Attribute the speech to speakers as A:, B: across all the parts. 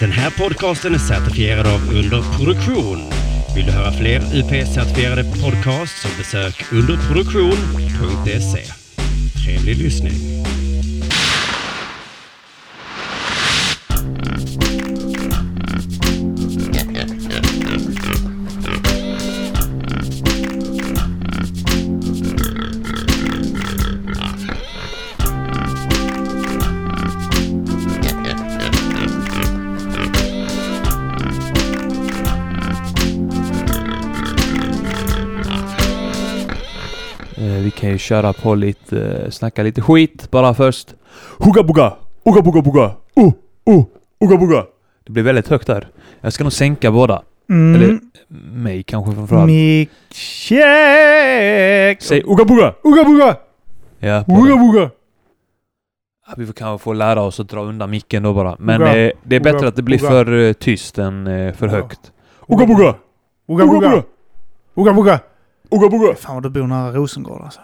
A: Den här podcasten är certifierad av Underproduktion. Vill du höra fler UP-certifierade podcasts så besök underproduktion.se. Trevlig lyssning.
B: Eh, vi kan ju köra på lite, eh, snacka lite skit bara först. Hugga bugga! Ugga bugga bugga! Uh, uh, ugga bugga! Det blir väldigt högt där. Jag ska nog sänka båda.
C: Mm.
B: Eller mig kanske framförallt.
C: Mick check!
B: Säg ugga bugga!
C: Ugga bugga!
B: Ja, på
C: Ugga
B: det.
C: bugga!
B: vi får kanske få lära oss att dra undan micken då bara. Men
C: Ugga,
B: eh, det är bättre
C: ugga,
B: att det blir
C: ugga.
B: för eh, tyst än eh, för högt.
C: Ugga bugga! Ugga bugga! Ugga bugga!
B: Ugga bugga!
C: Fan vad du bor nära Rosengård alltså.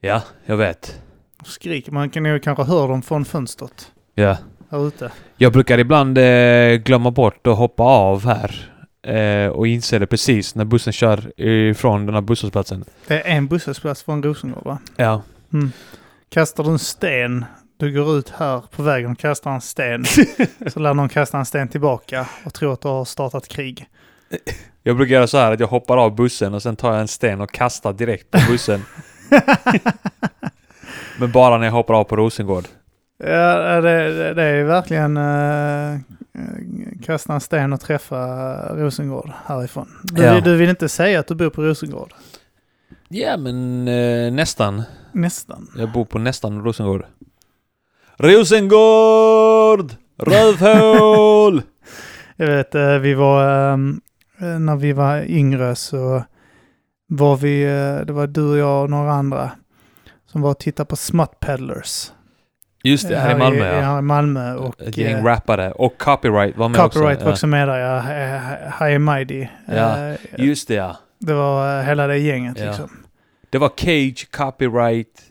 B: Ja, jag vet.
C: Skrik. Man kan ju kanske höra dem från fönstret.
B: Ja.
C: Här ute.
B: Jag brukar ibland eh, glömma bort att hoppa av här. Eh, och inser det precis när bussen kör ifrån den här busshållplatsen.
C: Det är en busshållplats från Rosengård va? Mm.
B: Ja.
C: Kastar du en sten, du går ut här på vägen och kastar en sten. så lär någon kasta en sten tillbaka och tro att du har startat krig.
B: Jag brukar göra så här att jag hoppar av bussen och sen tar jag en sten och kastar direkt på bussen. Men bara när jag hoppar av på Rosengård.
C: Ja, det, det, det är verkligen eh, kasta en sten och träffa Rosengård härifrån. Du,
B: Ja.
C: du vill inte säga att du bor på Rosengård?
B: Ja, men eh, nästan.
C: Nästan.
B: Jag bor på nästan Rosengård. Rosengård! Rövhål!
C: Jag vet, eh, vi var, eh, när vi var yngre så var vi, eh, det var du och jag och några andra som var och tittade på Smut Peddlers.
B: Just det, här i Malmö ja.
C: Här i Malmö och
B: Ett gäng
C: eh,
B: rappare. Och copyright var med
C: Copyright
B: också.
C: var också med där, ja. Eh, High and Mighty.
B: Ja.
C: Eh,
B: Ja. Just det ja.
C: Det var eh, hela det gänget
B: Ja.
C: liksom.
B: Det var Cage, Copyright,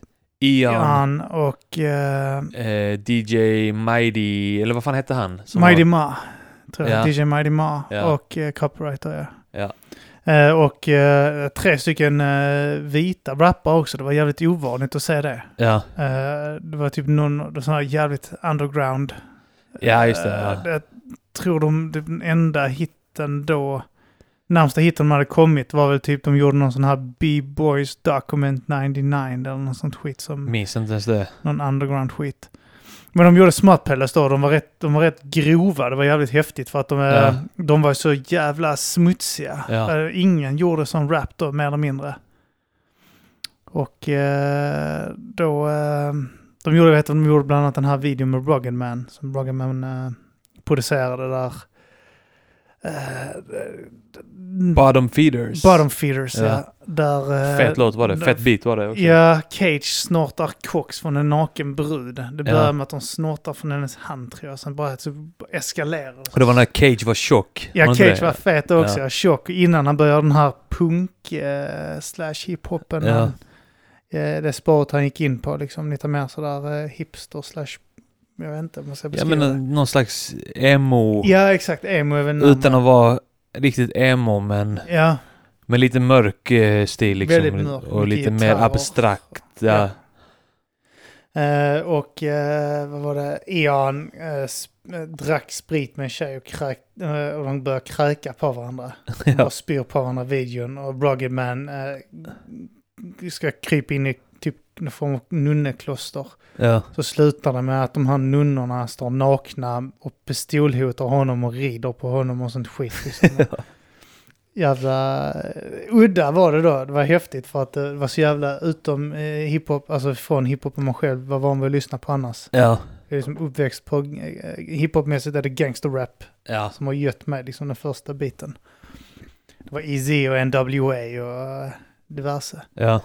B: Ian,
C: Han och eh,
B: eh, DJ Mighty, eller vad fan hette han? som
C: Mighty
B: var-
C: Ma. Tror jag.
B: Ja.
C: DJ Mighty Ma
B: Ja.
C: och eh, Copywriter.
B: Ja.
C: Eh, och eh, tre stycken eh, vita rappare också. Det var jävligt ovanligt att se det.
B: Ja,
C: Eh, det var typ någon sån här jävligt underground.
B: ja just det.
C: Eh,
B: Ja.
C: Jag tror de, den enda hitten då, närmsta hitten de hade kommit var väl typ de gjorde någon sån här B-Boys Document 99 eller något sånt skit som
B: Minns inte ens det.
C: någon underground skit. Men de gjorde Smart Palace då, de var, rätt, de var rätt grova, det var jävligt häftigt för att de, är-
B: Ja.
C: de var så jävla smutsiga.
B: Ja.
C: Eh, Ingen gjorde sån rap då, mer eller mindre. Och eh, då, eh, de gjorde, vet, du, de gjorde bland annat den här videon med Rugged Man, som Rugged Man eh, producerade där. Eh,
B: Bottom Feeders.
C: Bottom Feeders, ja.
B: Ja.
C: Där, eh,
B: Fett låt var det. Fett beat var det också.
C: Ja, Cage snortar koks från en naken brud. Det börjar
B: Ja.
C: med att de snortar från hennes hand tror jag, sen bara så eskalerar
B: Och det var när Cage var tjock.
C: Ja,
B: inte
C: Cage
B: det?
C: var fet också,
B: Ja.
C: ja. tjock. Innan han började den här punk eh, slash hiphopen.
B: Ja.
C: Ja. Eh, det spåret han gick in på, liksom lite mer sådär eh, hipster slash, jag vet inte om man ska
B: Ja,
C: beskriva
B: men
C: det.
B: eh, någon slags emo.
C: Ja, exakt. Emo är väl namnet.
B: utan att vara riktigt emo, men
C: Ja,
B: med lite mörk eh, stil liksom.
C: Väldigt mörk,
B: och
C: mycket
B: lite mer
C: gitarr.
B: abstrakt. Ja.
C: Ja. Eh, och eh, vad var det, Ian eh, sp- eh, drack sprit med en tjej och, kräk, eh, och de började kräka på varandra.
B: Ja.
C: Och spyr på varandra i videon och Rugged Man eh, ska krypa in i typ någon form av nunnekloster.
B: Ja.
C: Så slutar det med att de här nunnorna står nakna och pistolhotar honom och rider på honom och sånt skit. Liksom. jävla eh, udda var det då. Det var häftigt för att eh, det var så jävla utom eh, hiphop, alltså från hiphopen man själv var van vid att lyssna på annars.
B: Ja.
C: Jag är liksom uppväxt på, eh, hiphopmässigt är det gangsterrap
B: Ja.
C: som har gött mig liksom den första biten. Det var Easy och NWA och eh, diverse.
B: Ja.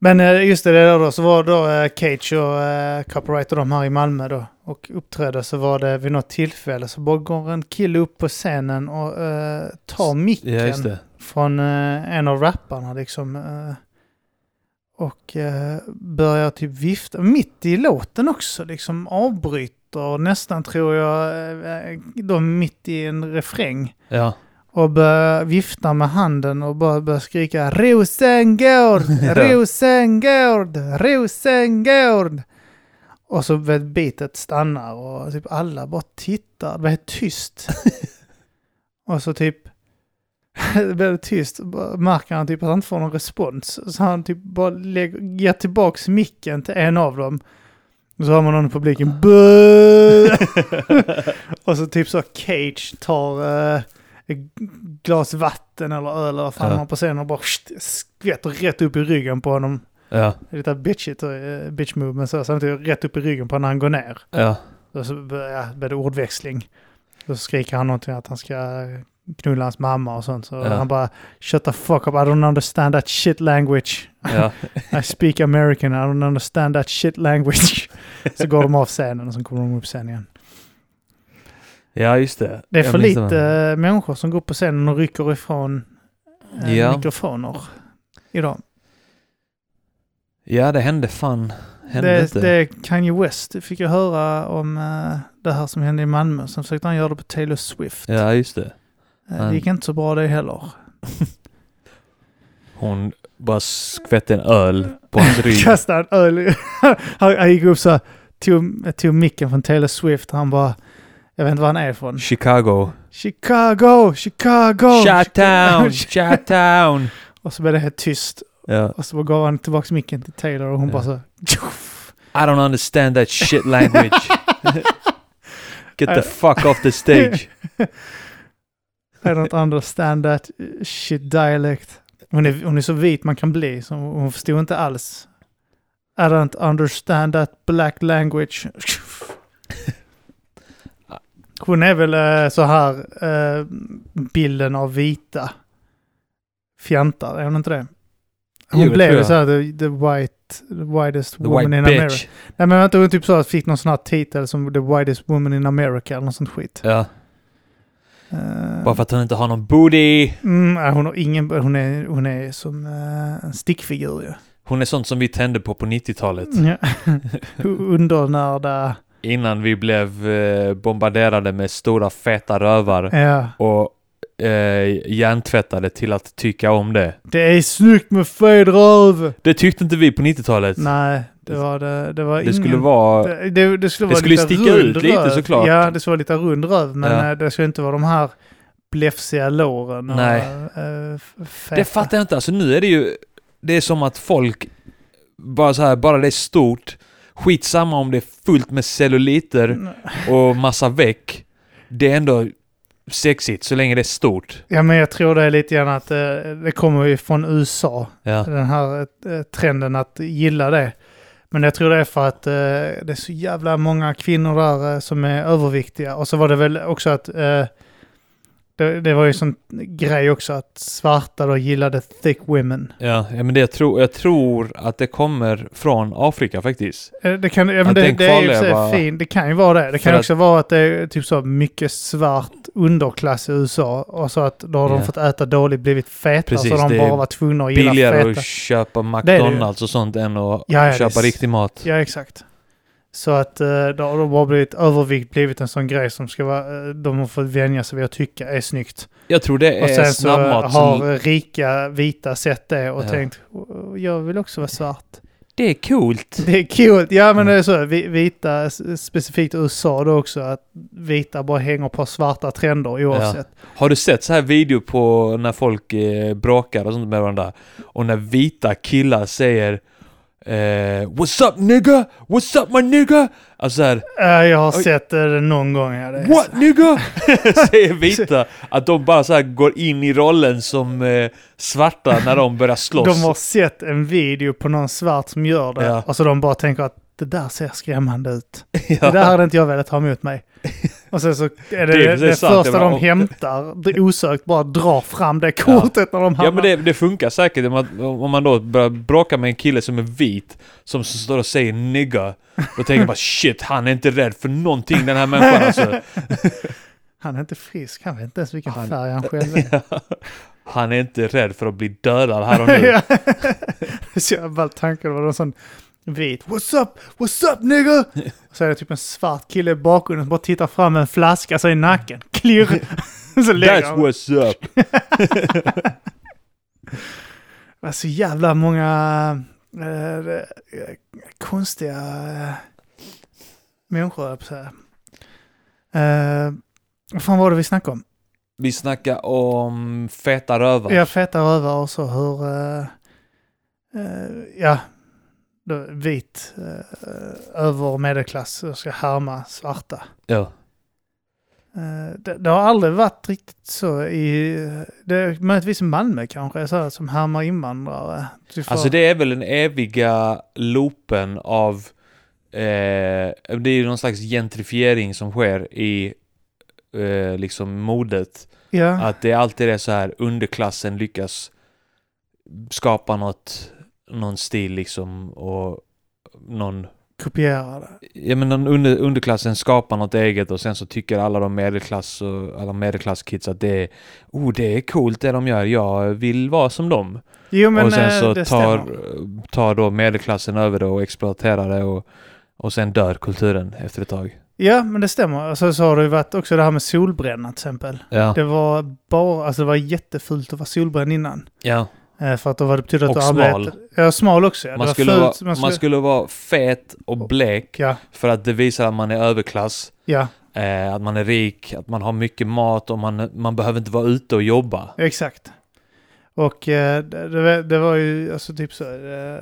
C: Men eh, just det, det där då, så var då eh, Cage och eh, Copyright och de här i Malmö då och uppträdde så var det vid något tillfälle så bara går en kille upp på scenen och eh, tar micken
B: Ja, just det.
C: från eh, en av rapparna liksom. Eh, och eh, börjar typ vifta, mitt i låten också liksom avbryt låter nästan, tror jag, eh, de mitt i en refräng
B: Ja.
C: och börjar vifta med handen och bara börjar skrika Rosengård, Rosengård, Rosengård. Och så vet bitet stannar och typ alla bara tittar. Det blir helt tyst. och så typ det blir det tyst. Bara Märker han typ att han inte får någon respons. Så han typ bara lägger, ger tillbaks micken till en av dem. Och så har man någon i publiken. "Bö!" och så typ så Cage tar eh, ett glas vatten eller öl eller vad fan
B: Ja.
C: han har på scenen och bara skvätter rätt upp i ryggen på honom.
B: Ja.
C: Det är Lite bitchigt, eh, bitch movement så. Samtidigt rätt upp i ryggen på honom när han går ner.
B: Ja.
C: Och så börjar- blir det ordväxling. Då skriker han någonting att han ska knulla hans mamma och sånt. Så
B: Ja.
C: han bara shut the fuck up, I don't understand that shit language.
B: Ja.
C: I speak American, I don't understand that shit language. så går de av scenen och sen kommer de upp sen igen.
B: Ja, just det.
C: Det är
B: Jag
C: för
B: minns
C: lite
B: den.
C: eh, människor som går upp på scenen och rycker ifrån eh,
B: Ja.
C: mikrofoner idag.
B: Ja, det hände fan. Hände
C: Det,
B: inte.
C: det är Kanye West, Det fick jag höra om eh, det här som hände i Malmö. Sen försökte han göra det på Taylor Swift.
B: Ja, just det.
C: Eh, Det gick inte så bra det heller.
B: Hon bara skvätte en öl på hans rygg.
C: kastade en öl. i- han, han gick upp så här, tog, tog micken från Taylor Swift. Han bara, jag vet inte var han är ifrån.
B: Chicago.
C: Chicago, Chicago!
B: Shut down!
C: Chica-
B: Shut down!
C: och så blev det helt tyst.
B: Ja.
C: Och så bara gav han tillbaka micken till Taylor och hon
B: Ja.
C: bara så...
B: I don't understand that shit language. Get the fuck off the stage.
C: I don't understand that shit dialect. Hon är, hon är så vit man kan bli, så hon förstod inte alls. I don't understand that black language. Hon är väl eh, så här eh, bilden av vita fjantar, är hon inte det? Hon
B: Jo, det
C: blev
B: tror
C: ju
B: jag.
C: så här the, the white, the widest
B: The
C: woman
B: white
C: in America.
B: bitch.
C: Nej men vänta, hon typ så här fick någon sån här titel som the widest woman in America eller något sånt skit.
B: Ja,
C: Eh,
B: bara för att hon inte har någon booty.
C: Mm, nej, hon, har ingen, hon, är, hon är som eh, en stickfigur ju.
B: Hon är sånt som vi tände på på 90-talet.
C: Ja. Undernärda.
B: Innan vi blev eh, bombarderade med stora feta rövar
C: Ja.
B: och eh, hjärntvättade till att tycka om det.
C: Det är snyggt med fet röv!
B: Det tyckte inte vi på 90-talet.
C: Nej, det var det. Det, var
B: det
C: ingen,
B: skulle vara...
C: Det, det, det skulle,
B: det
C: vara
B: skulle
C: lite
B: sticka
C: rund
B: ut lite
C: röv.
B: såklart.
C: Ja, det skulle vara lite rund röv, men
B: Ja.
C: eh, det skulle inte vara de här blefsiga låren. och,
B: Nej.
C: eh, f- feta.
B: Det fattar jag inte. Alltså nu är det ju... Det är som att folk... Bara så här, bara det är stort. Skitsamma om det är fullt med celluliter och massa veck. Det är ändå sexigt så länge det är stort.
C: Ja, men jag tror det är lite grann att eh, det kommer ju från USA.
B: Ja.
C: den här eh, trenden att gilla det. Men jag tror det är för att eh, det är så jävla många kvinnor där eh, som är överviktiga. Och så var det väl också att eh, det, det var ju sån grej också att svarta då gillade thick women.
B: Ja, ja, men det jag, tror, jag tror att det kommer från Afrika faktiskt.
C: Eh, det kan, ja, men
B: Att
C: det,
B: den
C: det är ju så
B: kvarlevar-
C: här fin, det kan ju vara det.
B: För
C: Det kan
B: att-
C: också vara att det är typ så mycket svart underklass i USA. Och så att då har
B: Ja.
C: de fått äta dåligt, blivit feta.
B: Precis,
C: så har de
B: det är
C: bara var tvungna att gilla feta.
B: Billigare att köpa
C: det ju.
B: McDonalds och sånt än att
C: Ja, ja,
B: köpa
C: det-
B: riktig mat.
C: Ja, exakt. Så att eh, då har de bara blivit övervikt, blivit en sån grej som ska vara, eh, de har fått vänja sig vid att tycka är snyggt.
B: Jag tror det
C: Och
B: är
C: sen så
B: snabbmat
C: har
B: som...
C: rika vita sett det och
B: Ja.
C: tänkt, "Åh, jag vill också vara svart.
B: Det är coolt.
C: Det är kul. Ja, men
B: Mm.
C: det är så, vi- vita, s- specifikt USA då också, att vita bara hänger på svarta trender oavsett.
B: Har du sett så här video på när folk eh, bråkar och sånt med varandra? Och när vita killar säger eh, What's up nigga? What's up my nigga? Alltså så här,
C: Eh, jag har
B: Oj.
C: sett det någon gång. Ja, det är
B: What nigga? Säger vita. Att de bara så här går in i rollen som eh, svarta när de börjar slåss.
C: De har sett en video på någon svart som gör det
B: Ja.
C: och så de bara tänker att det där ser skrämmande ut.
B: Ja.
C: Det där hade inte jag velat ha emot mig. Och sen så är det
B: Det är
C: det,
B: precis sant,
C: första
B: det var-
C: de hämtar, det osökt bara drar fram det kortet när de hamnar.
B: Ja men det, det funkar säkert om man, om man då börjar bråka med en kille som är vit som så står och säger nigga. Då tänker man bara shit, han är inte rädd för någonting den här människan alltså.
C: Han är inte frisk, han vet inte ens vilken
B: Han-
C: färg han själv är.
B: Han är inte rädd för att bli dödad här och nu.
C: Ja. Så jag bara tanken var någon sån vit. What's up? What's up nigga? Och så är det typ en svart kille i bakgrunden som bara tittar fram med en flaska så i nacken. Klirr! så lägger
B: That's
C: han. Det
B: what's up!
C: var så jävla många eh, eh, konstiga eh, människor, höll jag på att säga. Eh, vad fan var det vi snackade om?
B: Vi snackar om feta rövar.
C: Ja, feta rövar och så hur... eh, eh, ja, då, vit eh, över medelklass ska härma svarta.
B: Ja.
C: Eh, det, det har aldrig varit riktigt så i... Det, möjligtvis i Malmö kanske, så här, som härmar invandrare. Du får-
B: Alltså det är väl den eviga loopen av... Eh, det är ju någon slags gentrifiering som sker i eh, liksom modet.
C: ja.
B: Att det alltid är så här underklassen lyckas skapa något, någon stil liksom och någon,
C: kopiera det.
B: ja men någon under, underklassen skapar något eget och sen så tycker alla de medelklass och alla medelklasskids att det är, oh det är coolt det de gör, jag vill vara som dem.
C: Jo men
B: och sen
C: eh,
B: så
C: det
B: tar,
C: stämmer.
B: tar då medelklassen över det och exploaterar det och, och sen dör kulturen efter ett tag.
C: Ja men det stämmer. Alltså, så har det ju varit också det här med solbränna till exempel.
B: Ja,
C: Det var bara, alltså det var jättefult att vara solbränd innan.
B: ja.
C: Eh, för att då var det betydde att
B: Och
C: du
B: smal.
C: arbetade. Ja, smal också. Ja. Det
B: Man,
C: var
B: skulle
C: fult.
B: vara, man, skulle... vara fet och blek
C: Ja,
B: För att det visar att man är överklass,
C: ja,
B: eh, att man är rik, att man har mycket mat och man, man behöver inte vara ute och jobba.
C: exakt. Och eh, det, det var- det var ju, alltså typ så, eh,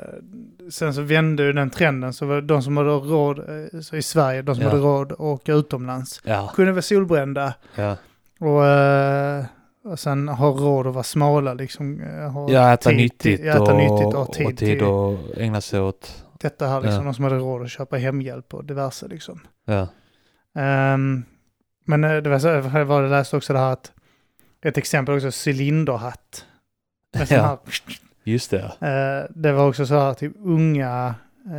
C: sen så vände ju den trenden. Så var det de som hade råd, eh, så i Sverige, de som
B: Ja.
C: hade råd att åka utomlands
B: Ja,
C: kunde vara solbrända
B: ja.
C: och, eh, och sen ha råd att vara smala liksom. eh, Ha
B: ja äta
C: tid-
B: nyttigt,
C: ja, äta
B: och,
C: nyttigt och ha
B: och
C: tid
B: tid
C: till-
B: och ägna sig åt...
C: detta här liksom,
B: Ja.
C: de som hade råd att köpa hemhjälp och diverse liksom.
B: Ja,
C: Ehm, men eh, det var så, jag var- jag läste också det här att ett exempel också, cylinderhatt. Med sån
B: ja
C: här,
B: just det.
C: eh, det var också så här typ unga, eh,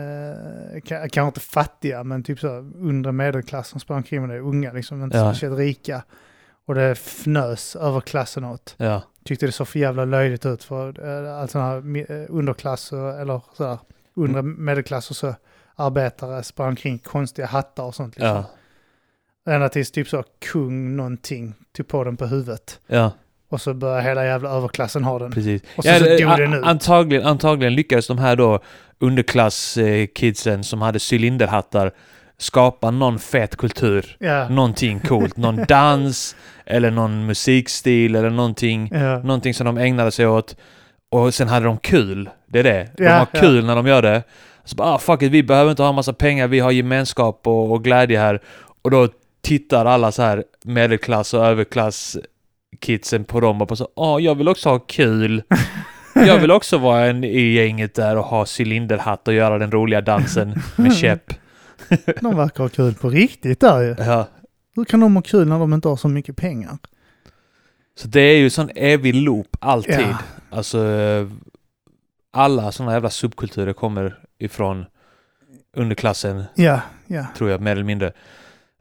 C: ka- kanske inte fattiga, men typ så här undre medelklass som sprang omkring med det, unga liksom, inte
B: Ja.
C: speciellt rika. Och det fnös överklassen åt.
B: Ja,
C: Tyckte det såg för jävla löjligt ut för eh, all sån här mi- eh, underklass och, eller så här, undre
B: Mm.
C: medelklass och så arbetare sprang omkring konstiga hattar och sånt. Liksom.
B: ja,
C: Ända tills typ så kung någonting tog på den på huvudet.
B: ja,
C: Och så började hela jävla överklassen ha den.
B: precis.
C: Och så,
B: Ja,
C: så
B: det-
C: dog den
B: a-
C: ut.
B: antagligen, antagligen lyckades de här då underklasskidsen som hade cylinderhattar skapa någon fet kultur.
C: Ja.
B: Någonting coolt, någon dans eller någon musikstil eller någonting.
C: Ja.
B: Någonting som de ägnade sig åt. Och sen hade de kul. Det är det. De
C: Ja,
B: har
C: ja.
B: kul när de gör det. Så bara, ah, fuck it, vi behöver inte ha massa pengar, vi har gemenskap och, och glädje här. Och då tittar alla så här medelklass och överklass kidsen på dem och bara så, ah, jag vill också ha kul. Jag vill också vara en i gänget där och ha cylinderhatt och göra den roliga dansen med käpp.
C: De verkar ha kul på riktigt där ju.
B: Ja.
C: Hur kan de ha kul när de inte har så mycket pengar?
B: Så det är ju sån evig loop, alltid.
C: Ja.
B: Alltså, eh, alla såna jävla subkulturer kommer ifrån underklassen,
C: Ja, ja.
B: tror jag, mer eller mindre.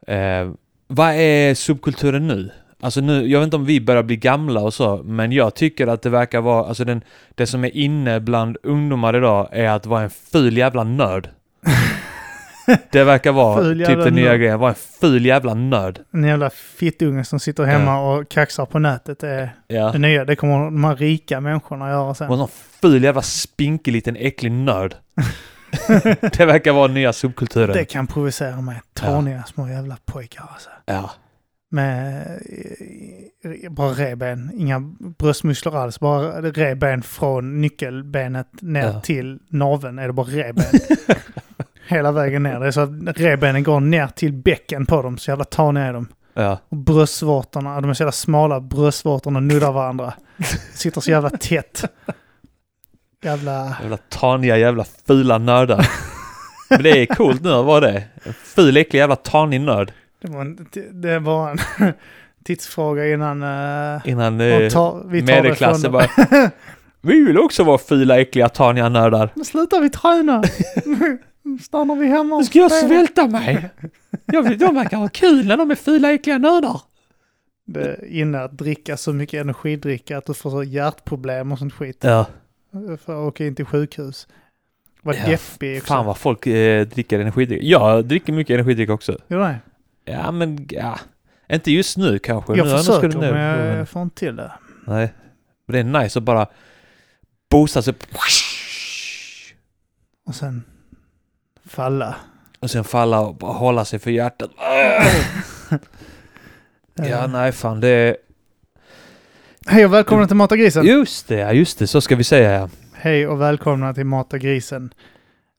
B: Eh, vad är subkulturen nu? Alltså nu, jag vet inte om vi börjar bli gamla och så, men jag tycker att det verkar vara, alltså den, det som är inne bland ungdomar idag är att vara en ful jävla nörd. Det verkar vara
C: Ful
B: typ
C: jävla
B: den nya
C: nörd.
B: grejen, vara en ful jävla nörd.
C: En jävla fittunge som sitter hemma och kaxar på nätet. Det är
B: Ja.
C: det nya. Det kommer de här rika människorna göra sen.
B: Var en sån ful jävla spinkig liten äcklig nörd. det verkar vara nya subkulturen.
C: Det kan provocera mig. Taniga små jävla pojkar alltså.
B: Ja.
C: Med eh, bara reben, inga bröstmuskler alls. Bara reben från nyckelbenet ner
B: Ja.
C: till naveln är det bara reben. Hela vägen ner. Det är så att rebenen går ner till bäcken på dem. Så jävla taniga är de.
B: ja.
C: Och bröstvårtorna, de är så jävla smala, bröstvårtorna nuddar varandra. Sitter så jävla tätt. Jävla...
B: Jävla taniga jävla fula nördar. Men det är coolt nu att vara det. En ful äcklig jävla tanig nörd.
C: Det var en, det var en tidsfråga innan... eh,
B: Innan
C: de
B: eh,
C: tar, vi tar det från
B: medelklassen
C: dem.
B: bara... Vi vill också vara fula äckliga taniga nördar.
C: Nu slutar vi träna. Nu stannar vi hemma. och
B: Nu ska jag
C: spelar.
B: svälta mig. Jag vill, de verkar ha kul när de är fula äckliga nördar.
C: Det är inne att dricka så mycket energidricka att du får så hjärtproblem och sånt skit.
B: Ja.
C: För att åka in till sjukhus. Vad
B: Ja,
C: deppig också.
B: Fan vad folk eh, dricker energidryck. Jag dricker mycket energidryck också.
C: Gjorde det?
B: Ja men, ja. Inte just nu kanske.
C: Jag
B: nu, annars
C: försöker
B: skulle det
C: men
B: nog-
C: jag, jag får inte till det.
B: Nej. Men det är nice att bara boosta sig
C: Och sen falla.
B: och sen falla och bara hålla sig för hjärtat. Ja,
C: Eh,
B: nej fan det är...
C: Hej och välkomna till Mata grisen.
B: Just det, ja, just det. Så ska vi säga ja.
C: Hej och välkomna till Mata grisen.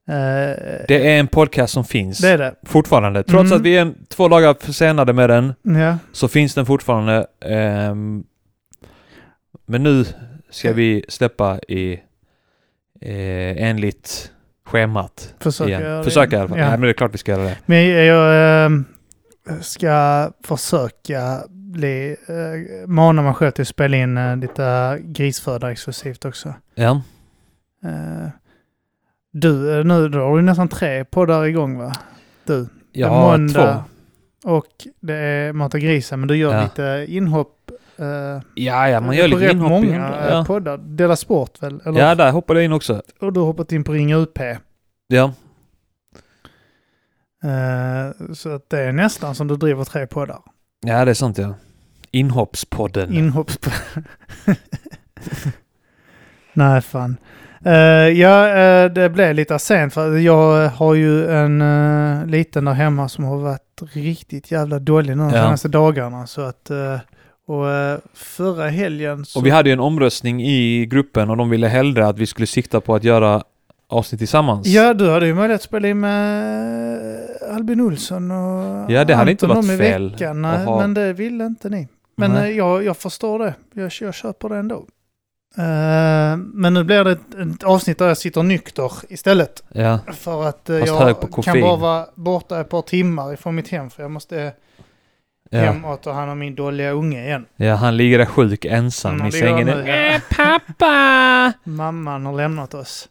C: Eh, det,
B: Det är en podcast som finns.
C: är det.
B: Fortfarande. Trots
C: Mm.
B: att vi är en, två dagar försenade med den
C: Ja.
B: så finns den fortfarande. ehm. men nu ska vi släppa i eh, enligt schemat.
C: Försöker
B: igen.
C: göra det.
B: Försöka i alla fall.
C: Ja.
B: Nej, men det är klart vi ska göra det.
C: Men jag, jag ehm, ska försöka bli, eh, mana mig själv till att spela in eh, lite grisföda exklusivt också.
B: Ja.
C: Eh, du, eh, nu då har du nästan tre poddar igång va? Du.
B: Jag
C: Det är
B: har
C: måndag.
B: två.
C: Och det är Mata grisen, men du gör
B: Ja.
C: lite inhopp. Eh,
B: Ja, ja, man gör
C: på
B: lite
C: rätt
B: inhopp.
C: många
B: igen.
C: eh,
B: ja.
C: poddar. Dela Sport väl? Eller?
B: ja, där hoppade jag in också.
C: Och du har hoppat in på Ring UP.
B: Ja,
C: Eh, så att det är nästan som du driver tre poddar.
B: ja det är sant ja. Inhoppspodden.
C: Inhopps... Nej, fan. Eh, ja, eh, det blev lite sent för jag har ju en eh, liten där hemma som har varit riktigt jävla dålig nu de
B: Ja.
C: senaste dagarna. Så att, eh, och eh, förra helgen så...
B: Och vi hade ju en omröstning i gruppen och de ville hellre att vi skulle sikta på att göra avsnitt tillsammans.
C: Ja, du hade ju möjlighet att spela in med eh, Albin Olsson och
B: Ja, det hade inte
C: Anton
B: varit
C: om i
B: fel
C: Veckan,
B: att
C: nej,
B: ha-
C: men det ville inte ni. Men
B: Nej.
C: eh, jag, jag förstår det. Jag, jag köper det ändå. Eh, men nu blir det ett, ett avsnitt där jag sitter nykter istället.
B: Ja,
C: För att eh,
B: Fast hög
C: jag
B: på
C: kan
B: koffein.
C: bara vara borta ett par timmar ifrån mitt hem. För jag måste
B: ja.
C: hem och ta hand om min dåliga unge igen.
B: ja han ligger där sjuk ensam
C: Mm,
B: i
C: det gör
B: sängen.
C: han nu, ja.
B: Äh, pappa!
C: Mamman har lämnat oss.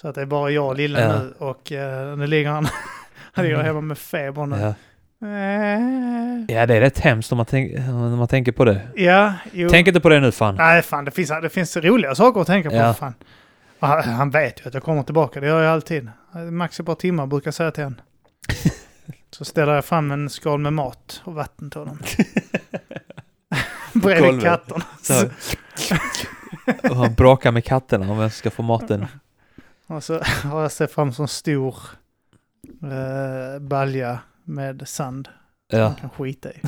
C: Så att det är bara jag och lilla
B: Ja. Mm.
C: nu. Och eh, nu ligger han, han ligger hemma med feber nu.
B: Ja.
C: Eh.
B: ja, det är rätt hemskt om man, tänk, om man tänker på det.
C: Ja, jo.
B: Tänk inte på det nu fan.
C: Nej, fan, det finns, det finns roliga saker att tänka på.
B: Ja.
C: Fan. Och Han, han vet ju att jag kommer tillbaka, det gör jag alltid. Max ett par timmar brukar jag säga till honom. Så ställer jag fram en skal med mat och vatten till honom. Bredvid
B: Golvet.
C: katterna.
B: Så. Och han bråkar med katterna om vem som ska få maten.
C: Och så har jag sett fram som stor eh, balja med sand som
B: Ja.
C: man kan skita i.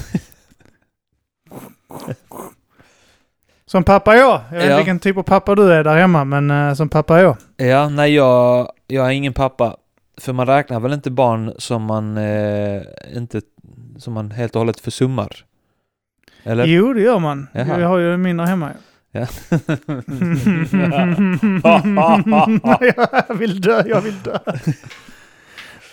C: Som pappa jag! Jag vet
B: Ja.
C: vilken typ av pappa du är där hemma, men eh, som pappa jag.
B: Ja, nej jag, jag är ingen pappa. För man räknar väl inte barn som man eh, inte, som man helt och hållet försummar? Eller?
C: Jo, det gör man.
B: Jaha.
C: Jag har ju en mindre hemma.
B: Ja.
C: jag vill dö, jag vill dö.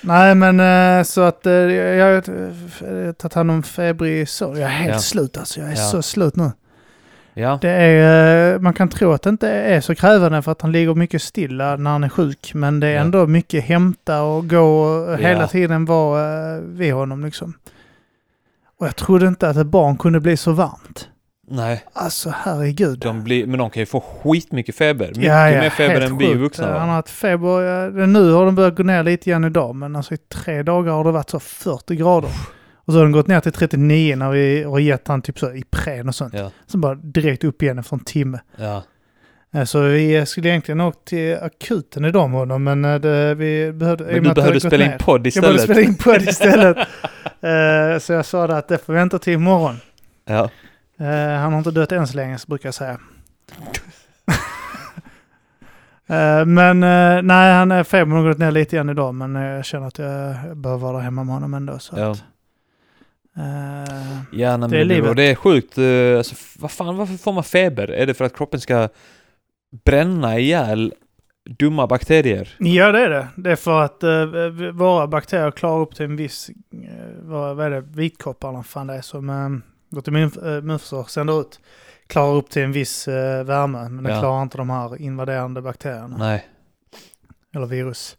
C: Nej, men eh, så att eh, jag jag har tagit hand om febrig så. Jag är helt
B: Ja.
C: slut alltså. Jag är
B: Ja.
C: så slut nu.
B: ja.
C: Det är, eh, man kan tro att det inte är så krävande för att han ligger mycket stilla när han är sjuk. Men det är
B: Ja.
C: ändå mycket hämta och gå och hela
B: Ja.
C: tiden vara eh, vid honom liksom. Och jag trodde inte att ett barn kunde bli så varmt.
B: Nej,
C: Alltså herregud.
B: de blir, men de kan ju få skitmycket feber. Mycket mer feber
C: helt
B: än vi
C: sjukt.
B: vuxna.
C: Han
B: va?
C: har haft feber, ja, nu har den börjat gå ner lite igen idag, men alltså i tre dagar har det varit så 40 grader. Och så har den gått ner till 39 när vi har gett han typ så Ipren och sånt.
B: Ja,
C: Sen bara direkt upp igen efter en timme.
B: ja.
C: Eh, Så vi skulle egentligen åkt till akuten idag med honom, men eh, det, vi behövde... i och
B: Men
C: med
B: du
C: att
B: behövde
C: det hade gått
B: spela
C: ner.
B: in podd
C: Jag
B: istället.
C: behövde spela in podd istället. Eh, så jag sa det att det får vänta till imorgon.
B: Ja.
C: Eh, han har inte dött än så länge, så brukar jag säga. Eh, men eh, nej, han är febern har gått ner lite igen idag, men eh, jag känner att jag behöver vara där hemma med honom ändå. Så
B: Ja.
C: att, eh,
B: Ja, nej, men
C: Det
B: det,
C: är
B: är
C: livet.
B: och det är sjukt. eh, Alltså, f- vad fan, varför får man feber? Är det för att kroppen ska bränna ihjäl dumma bakterier?
C: ja, det är det. Det är för att eh, våra bakterier klarar upp till en viss, eh, vad, vad är det, vitkopparna, vad fan det är som eh, vårt immun- eh, immunförsvar sänder ut, klarar upp till en viss eh, värme, men det
B: Ja.
C: klarar inte de här invaderande bakterierna
B: Nej.
C: eller virus.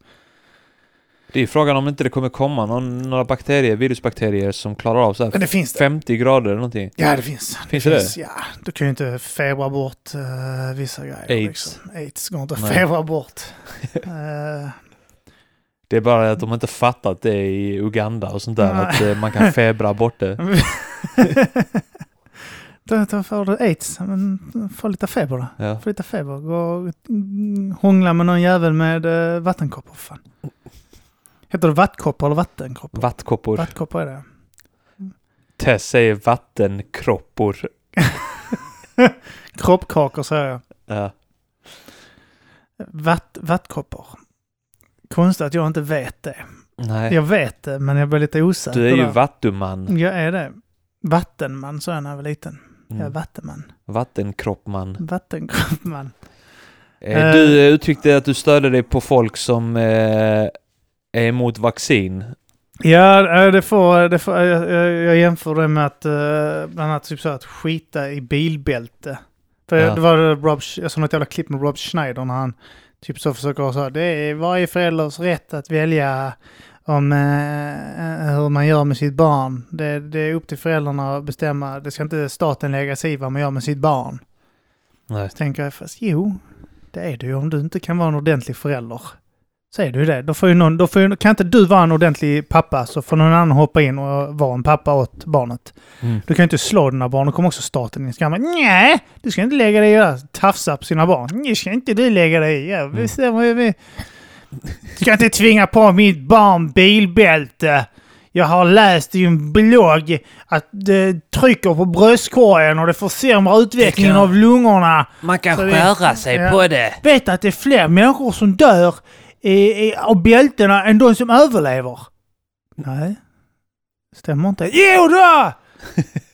B: Det är ju frågan om inte det kommer komma någon, några bakterier, virusbakterier som klarar av så
C: Men
B: här
C: det finns det.
B: 50 grader eller någonting.
C: Ja, det finns.
B: Finns det det?
C: Ja, du kan ju inte febra bort eh, vissa grejer.
B: Aids.
C: Liksom. Aids går inte att
B: Nej.
C: febra bort. Eh,
B: Det är bara att de inte fattat det i Uganda och sånt där.
C: Nej.
B: Att eh, man kan febra bort det.
C: då, då får du aids. Men få lite feber då.
B: Ja.
C: Få lite feber. Gå och mm, hångla med någon jävel med eh, vattenkoppor. Fan. Heter det vattkoppor eller vattenkoppor?
B: Vattkoppor.
C: Vattkoppor är det.
B: Tess säger vattenkroppor.
C: Kroppkakor säger jag.
B: Ja.
C: Vatt, vattkoppor. Konstigt att jag inte vet det.
B: Nej.
C: Jag vet det, men jag blir lite osäker.
B: Du är ju
C: där.
B: vattuman.
C: Jag är det. Vattenman sa jag när jag var liten. Jag är
B: Mm.
C: vattenman.
B: Vattenkroppman.
C: Vattenkroppman.
B: Eh,
C: Eh.
B: Du eh, uttryckte att du stödde dig på folk som eh, är emot vaccin.
C: Ja, eh, det får, det får, jag, jag- jag jämför det med att eh, bland annat typ så här att skita i bilbälte. För
B: Ja.
C: det var Rob, Sch- jag såg något jävla klipp med Rob Schneider när han typ så försöker ha så här, det är varje förälders rätt att välja om eh, hur man gör med sitt barn. Det, det är upp till föräldrarna att bestämma. Det ska inte staten lägga sig i vad man gör med sitt barn.
B: Nej.
C: Så tänker jag, fast jo, det är du ju om du inte kan vara en ordentlig förälder. Säger du det, då, får ju någon, då får ju, kan inte du vara en ordentlig pappa så får någon annan hoppa in och vara en pappa åt barnet.
B: Mm.
C: Du kan ju inte slå dina barn, då kommer också staten in och ska nej, du ska inte lägga dig i det här." Tafsa på sina barn. Nej, ska inte du lägga dig i. Jag bestämmer ju vi. Ska inte tvinga på mitt barn bilbälte. Jag har läst i en blogg att det trycker på bröstkorgen och det försämrar utvecklingen av lungorna.
B: Man kan
C: Så det- skära sig ja. på
B: det.
C: vet att det är fler människor som dör i, i, av bältena än de som överlever. Nej, stämmer inte. Jo då!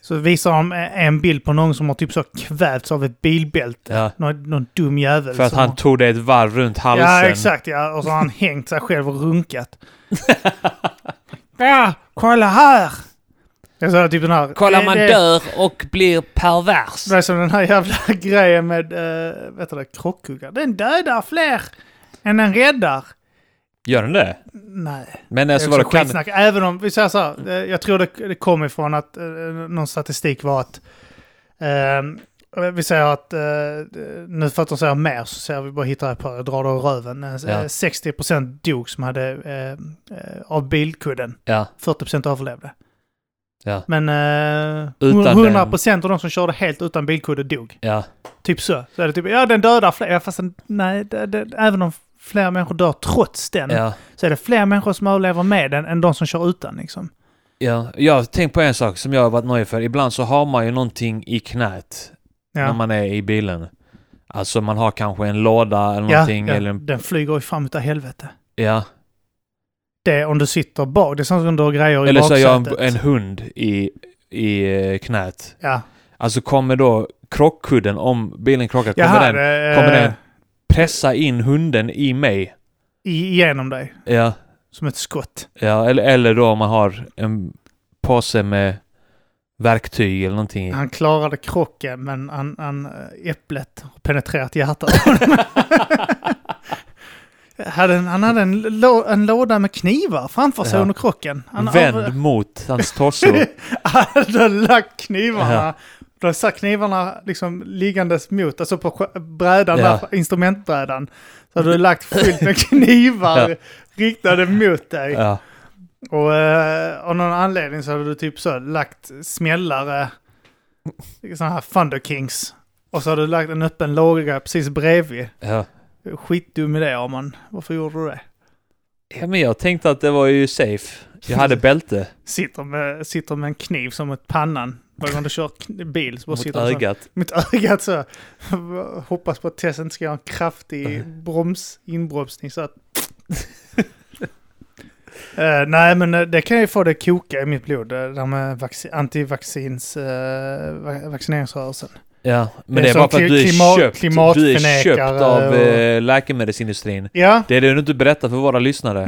C: Så visar de en bild på någon som har typ så kvävts av ett bilbälte.
B: Ja.
C: Någon, någon dum jävel.
B: För att
C: som
B: han
C: har...
B: tog det ett varv runt halsen.
C: Ja, exakt ja. Och så har han hängt sig själv och runkat. ja, kolla här! Jag sa typ den här... det- det-
B: och blir pervers.
C: Det är som den här jävla grejen med, uh, vet du det, krockkuggar. Den dödar fler än den räddar.
B: Gör den det?
C: Nej,
B: Men
C: det är
B: alltså
C: också
B: vadå, kan...
C: skitsnack. Även om, vi säger så här, eh, jag tror det, det kom ifrån att eh, någon statistik var att, eh, vi säger att, eh, nu för att de säger mer så säger vi bara hittar på, jag drar det ur röven. Eh,
B: Ja.
C: 60% dog som hade, eh, eh, av bilkudden.
B: Ja,
C: 40% överlevde.
B: Ja.
C: Men eh,
B: Utan
C: 100% av de som körde helt utan bilkudde dog.
B: ja.
C: Typ så. så är det typ, ja den dödar fler, Ja, fast den, nej, det, det, även om fler människor dör trots den,
B: Ja,
C: så är det fler människor som överlever med den än de som kör utan liksom.
B: ja. Jag har tänkt på en sak som jag har varit nöjd för. Ibland så har man ju någonting i knät när
C: Ja.
B: man är i bilen. Alltså man har kanske en låda eller
C: Ja,
B: någonting.
C: ja,
B: Eller en...
C: den flyger ju fram utav helvete.
B: ja.
C: Det om du sitter bak, det är sånt som du har grejer i
B: eller så har jag en,
C: baksätet.
B: en hund i, i eh, knät.
C: Ja,
B: Alltså kommer då krockkudden, om bilen krockar,
C: jag
B: kommer
C: hade,
B: den
C: eh,
B: kommer den- pressa in hunden i mig?
C: i- igenom dig
B: Ja.
C: som ett skott.
B: Ja, eller, eller då om man har en påse med verktyg eller någonting. i.
C: Han klarade krocken men han, han, eh, äpplet har penetrerat hjärtat. Hade en- Han hade en, lå- en låda med knivar framför sig
B: Ja.
C: under krocken. Han
B: Vänd mot hans torso.
C: hade lagt Alltså, knivarna.
B: Ja.
C: Då satt knivarna liksom liggandes mot, alltså på sjö- brädan,
B: Ja. Mm.
C: där, instrumentbrädan. Så hade du lagt fullt med knivar
B: Ja.
C: riktade mot dig.
B: ja.
C: Och eh, av någon anledning så hade du typ så lagt smällare, sådana här Thunder Kings. Och så hade du lagt en öppen låga precis bredvid.
B: Ja.
C: Skitdum idé Arman. Varför gjorde du det?
B: ja, men jag tänkte att det var ju safe. Jag hade bälte
C: Sitter med, sitter med en kniv som ett pannan. Varje gång du kör kn- bil så bara
B: mot
C: sitter du så här-
B: ögat.
C: mitt ögat så. Hoppas på att Tess inte ska göra en kraftig broms, inbromsning så att... Eh, nej, men eh, det kan ju få det att koka i mitt blod, det där med vaccin, antivaccins, eh, va- vaccineringsrörelsen.
B: Ja,
C: Det är
B: men det är
C: som
B: bara för att du är
C: klimat-
B: köpt. Du är köpt
C: klimatförnekare
B: av
C: och-
B: eh, läkemedelsindustrin.
C: Ja,
B: Det är det du inte berättar för våra lyssnare.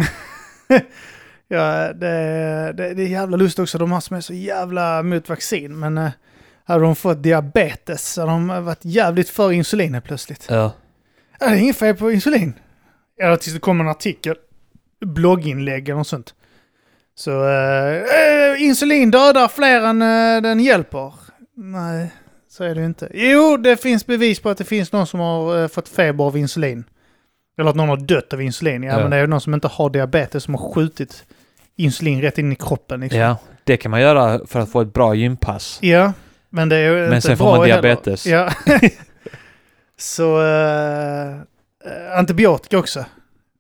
C: ja det, det, det är jävla lust också, de här som är så jävla mot vaccin, men eh, hade de fått diabetes så hade de varit jävligt för insulinet plötsligt.
B: Ja.
C: Ja, det är inget fel på insulin. Eller tills det kommer en artikel, blogginlägg eller något sånt. Så eh, eh, insulin dödar fler än eh, den hjälper. Nej, så är det ju inte. Jo, det finns bevis på att det finns någon som har eh, fått feber av insulin. Eller att någon har dött av insulin. Ja,
B: Ja.
C: men det är ju någon som inte har diabetes som har skjutit insulin rätt in i kroppen. Liksom.
B: Ja, det kan man göra för att få ett bra gympass.
C: Ja, men det är ju
B: Men
C: inte
B: sen får
C: bra
B: man
C: heller.
B: diabetes.
C: Ja. så eh, antibiotika också.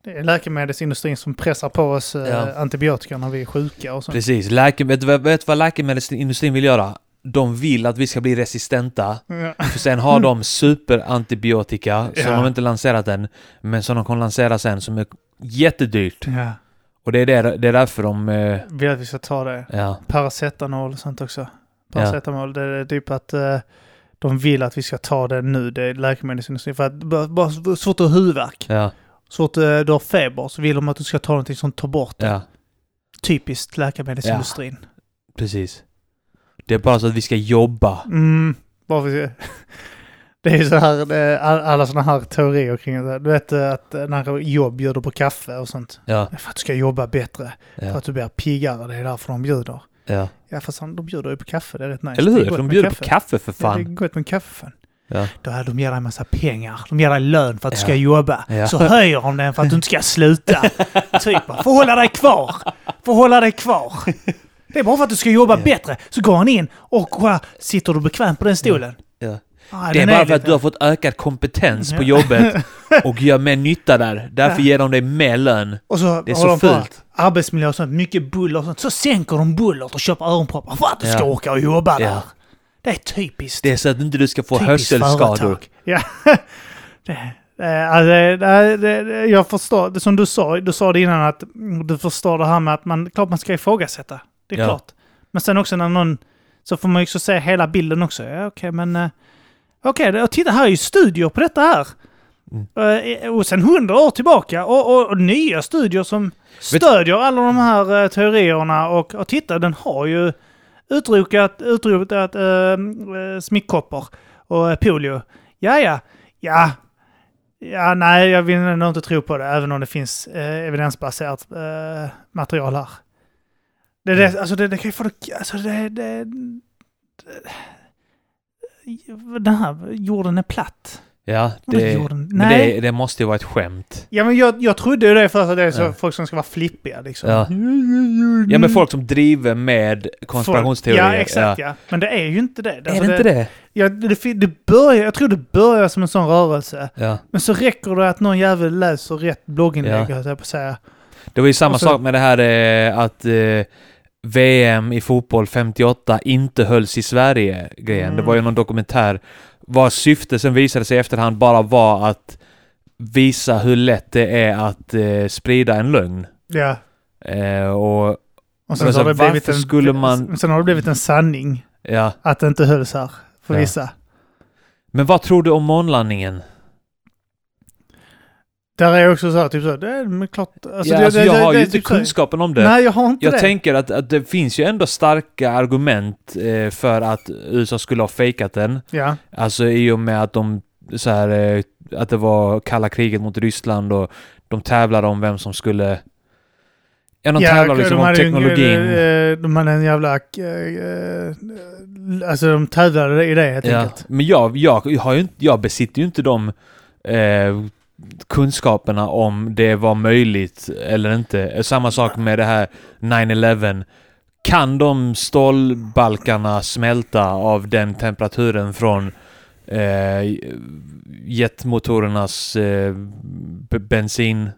C: Det är läkemedelsindustrin som pressar på oss eh,
B: Ja.
C: antibiotika när vi är sjuka och sånt.
B: Precis. Läke, vet, du vad- vet du vad läkemedelsindustrin vill göra? De vill att vi ska bli resistenta.
C: Ja.
B: För sen har de superantibiotika som
C: Ja.
B: de inte lanserat än. Men som de kommer lansera sen som är jättedyrt.
C: Ja.
B: Och det är, det, det är därför de... eh,
C: Vill att vi ska ta det.
B: Ja,
C: Paracetamol och sånt också. Paracetamol, det är typ att eh, de vill att vi ska ta det nu, det är läkemedelsindustrin. För att bara, bara så fort du har huvudvärk,
B: ja,
C: så fort eh, du har feber, så vill de att du ska ta någonting som tar bort det.
B: ja.
C: Typiskt läkemedelsindustrin.
B: Precis. Det är bara så att vi ska jobba.
C: Mm, bara för att se. Det är ju så här, det är all- alla sådana här teorier kring det. Du vet eh, att eh, när jobb bjuder på kaffe och sånt.
B: Ja,
C: Det är För att du ska jobba bättre, för
B: ja,
C: att du blir piggare, det är därför de bjuder.
B: ja.
C: Ja fast han- de bjuder ju på kaffe, Alltså, det är rätt nice.
B: Eller
C: Det är
B: hur?
C: gott
B: De
C: med
B: bjuder på kaffe för
C: Ja, Det är
B: fan.
C: gott med kaffe fan.
B: Ja.
C: Då här, de ger dig en massa pengar. De ger dig lön för att du ska
B: Ja.
C: jobba.
B: Ja.
C: Så höjer de den för att du inte ska sluta. typ bara, för att hålla dig kvar. För att hålla dig kvar. Det är bara för att du ska jobba
B: Ja.
C: bättre. Så går han in och kolla, sitter du bekvämt på den stolen?
B: Ja.
C: Ah,
B: Det är
C: den
B: bara för att
C: lite-
B: du har fått ökad kompetens på
C: Ja.
B: jobbet och gör mer nytta där. Därför ger de dig mer lön.
C: Och så
B: Det är
C: håller
B: så
C: de på
B: fult.
C: Arbetsmiljö och sånt, mycket buller och sånt. Så sänker de bullret och köper öronproppar för att du ska
B: Ja.
C: orka och jobba
B: Ja.
C: där. Det är typiskt.
B: Det är så att inte du ska få
C: Typiskt
B: hörselskador.
C: företag. Ja. Det, det, alltså, det, det, det, jag förstår, det som du sa, du sa det innan att mm, du förstår det här med att man, klart man ska ifrågasätta. Det är
B: Ja.
C: klart. Men sen också när någon, så får man ju också se hela bilden också. Ja, okej, men... eh, Okej, det- och titta här är ju studier på detta här. Eh, Och sen hundra år tillbaka och, och, och nya studier som stödjer alla de här eh, teorierna. Och, och titta, den har ju utrotat, utrotat eh, eh, smittkoppor och eh, polio. Ja, ja, ja. Ja, nej, jag vill ändå inte tro på det, även om det finns eh, evidensbaserat eh, material här. Det,
B: Mm.
C: det, alltså det, det kan ju få det, alltså det, det, det... Den här jorden är platt.
B: Ja,
C: Vadå
B: det,
C: jorden?
B: men
C: Nej.
B: det, det måste ju vara ett skämt.
C: Ja, men jag, jag trodde ju det först att det är så
B: Ja.
C: folk som ska vara flippiga liksom.
B: Ja. ja, men folk som driver med
C: Mm. Folk-
B: konspirationsteorier.
C: Ja, exakt ja. Men det är ju inte det.
B: Är det inte det?
C: Ja, det, det, det börjar, jag tror det börjar som en sån rörelse.
B: Ja.
C: Men så räcker det att någon jävel läser rätt blogginlägg,
B: Ja.
C: höll jag på att säga.
B: Det var ju samma
C: Och så-
B: sak med det här eh, att eh, VM i fotboll 58 inte hölls i Sverige-grejen. Det
C: Mm.
B: var ju någon dokumentär vars syfte sen visade sig i efterhand bara var att visa hur lätt det är att eh, sprida en lögn.
C: Ja.
B: Eh, och Men
C: Och sen, så har
B: så
C: det
B: varför
C: blivit en,
B: skulle man-
C: sen har det blivit en sanning
B: ja,
C: att det inte hölls här, för
B: Ja.
C: vissa.
B: men vad tror du om månlandningen?
C: Där är jag också så här, typ så, det är men klart...
B: ja,
C: det,
B: alltså,
C: det-
B: jag
C: det-
B: har
C: det
B: ju
C: är
B: inte
C: typ så här-
B: kunskapen om det.
C: Nej, jag har inte
B: jag
C: det.
B: tänker att, att det finns ju ändå starka argument eh, för att USA skulle ha fejkat den.
C: Ja,
B: Alltså i och med att de så här, eh, att det var kalla kriget mot Ryssland och de tävlade om vem som skulle... Ja, de tävlade liksom om
C: hade ju en-
B: teknologin.
C: eh, De hade en jävla... eh, eh, Alltså de tävlade i det helt
B: ja.
C: enkelt.
B: Men jag, jag, har ju inte, jag besitter ju inte de eh, kunskaperna om det var möjligt eller inte. Samma sak med det här 9-11. Kan de stålbalkarna smälta av den temperaturen från eh, jetmotorernas eh, b- bensin?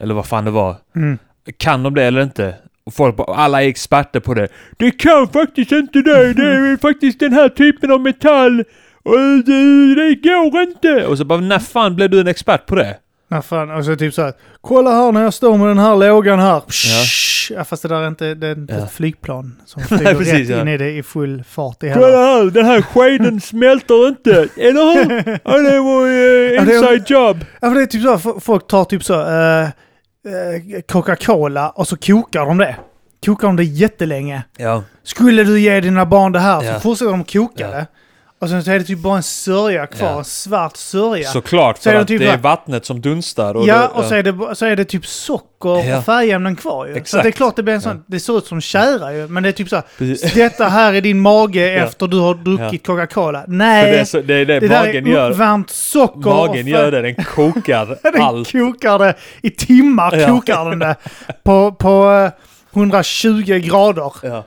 B: Eller vad fan det var.
C: Mm.
B: Kan de det eller inte? Och Folk, bara- alla är experter på det. Det kan faktiskt inte det. Det är faktiskt den här typen av metall. Och det, det går inte. Och så bara, när fan blev du en expert på det?
C: Ja, fan. Och så typ så här, kolla här när jag står med den här lågan här. Ja. ja fast det där är inte, det är inte
B: Ja.
C: ett flygplan som flyger
B: precis,
C: rätt
B: ja.
C: in i det i full fart i hela.
B: Kolla här, den här skeden smälter inte. Eller hur? Ja, det var eh,
C: Ja, det-
B: inside job.
C: Ja, för det är typ så här, fo- folk tar typ så här, eh, eh, Coca-Cola och så kokar de det. Kokar de det jättelänge.
B: Ja,
C: Skulle du ge dina barn det här
B: Ja.
C: så fortsätter de koka
B: Ja.
C: det. Och sen så är det typ bara en sörja kvar,
B: Ja.
C: en svart sörja.
B: Såklart,
C: Så är
B: för
C: det
B: att
C: typ
B: det är
C: bara-
B: vattnet som dunstar. Och
C: ja,
B: det-
C: och så är, det, ba- så är det typ socker
B: Ja.
C: och färgämnen kvar ju. Så
B: Exakt.
C: att det är klart det blir en sån, det ser ut som tjära ju, men det är typ så här,
B: Precis.
C: detta här är din mage
B: Ja.
C: efter du har druckit Coca-Cola.
B: För det,
C: Nej,
B: är så, det är det,
C: det där
B: magen
C: är
B: gör.
C: uppvärmt socker. och
B: Magen
C: fär-
B: gör det, den kokar
C: Den
B: allt.
C: kokar det i timmar,
B: Ja.
C: kokar den det. På, på eh, 120 grader
B: Ja.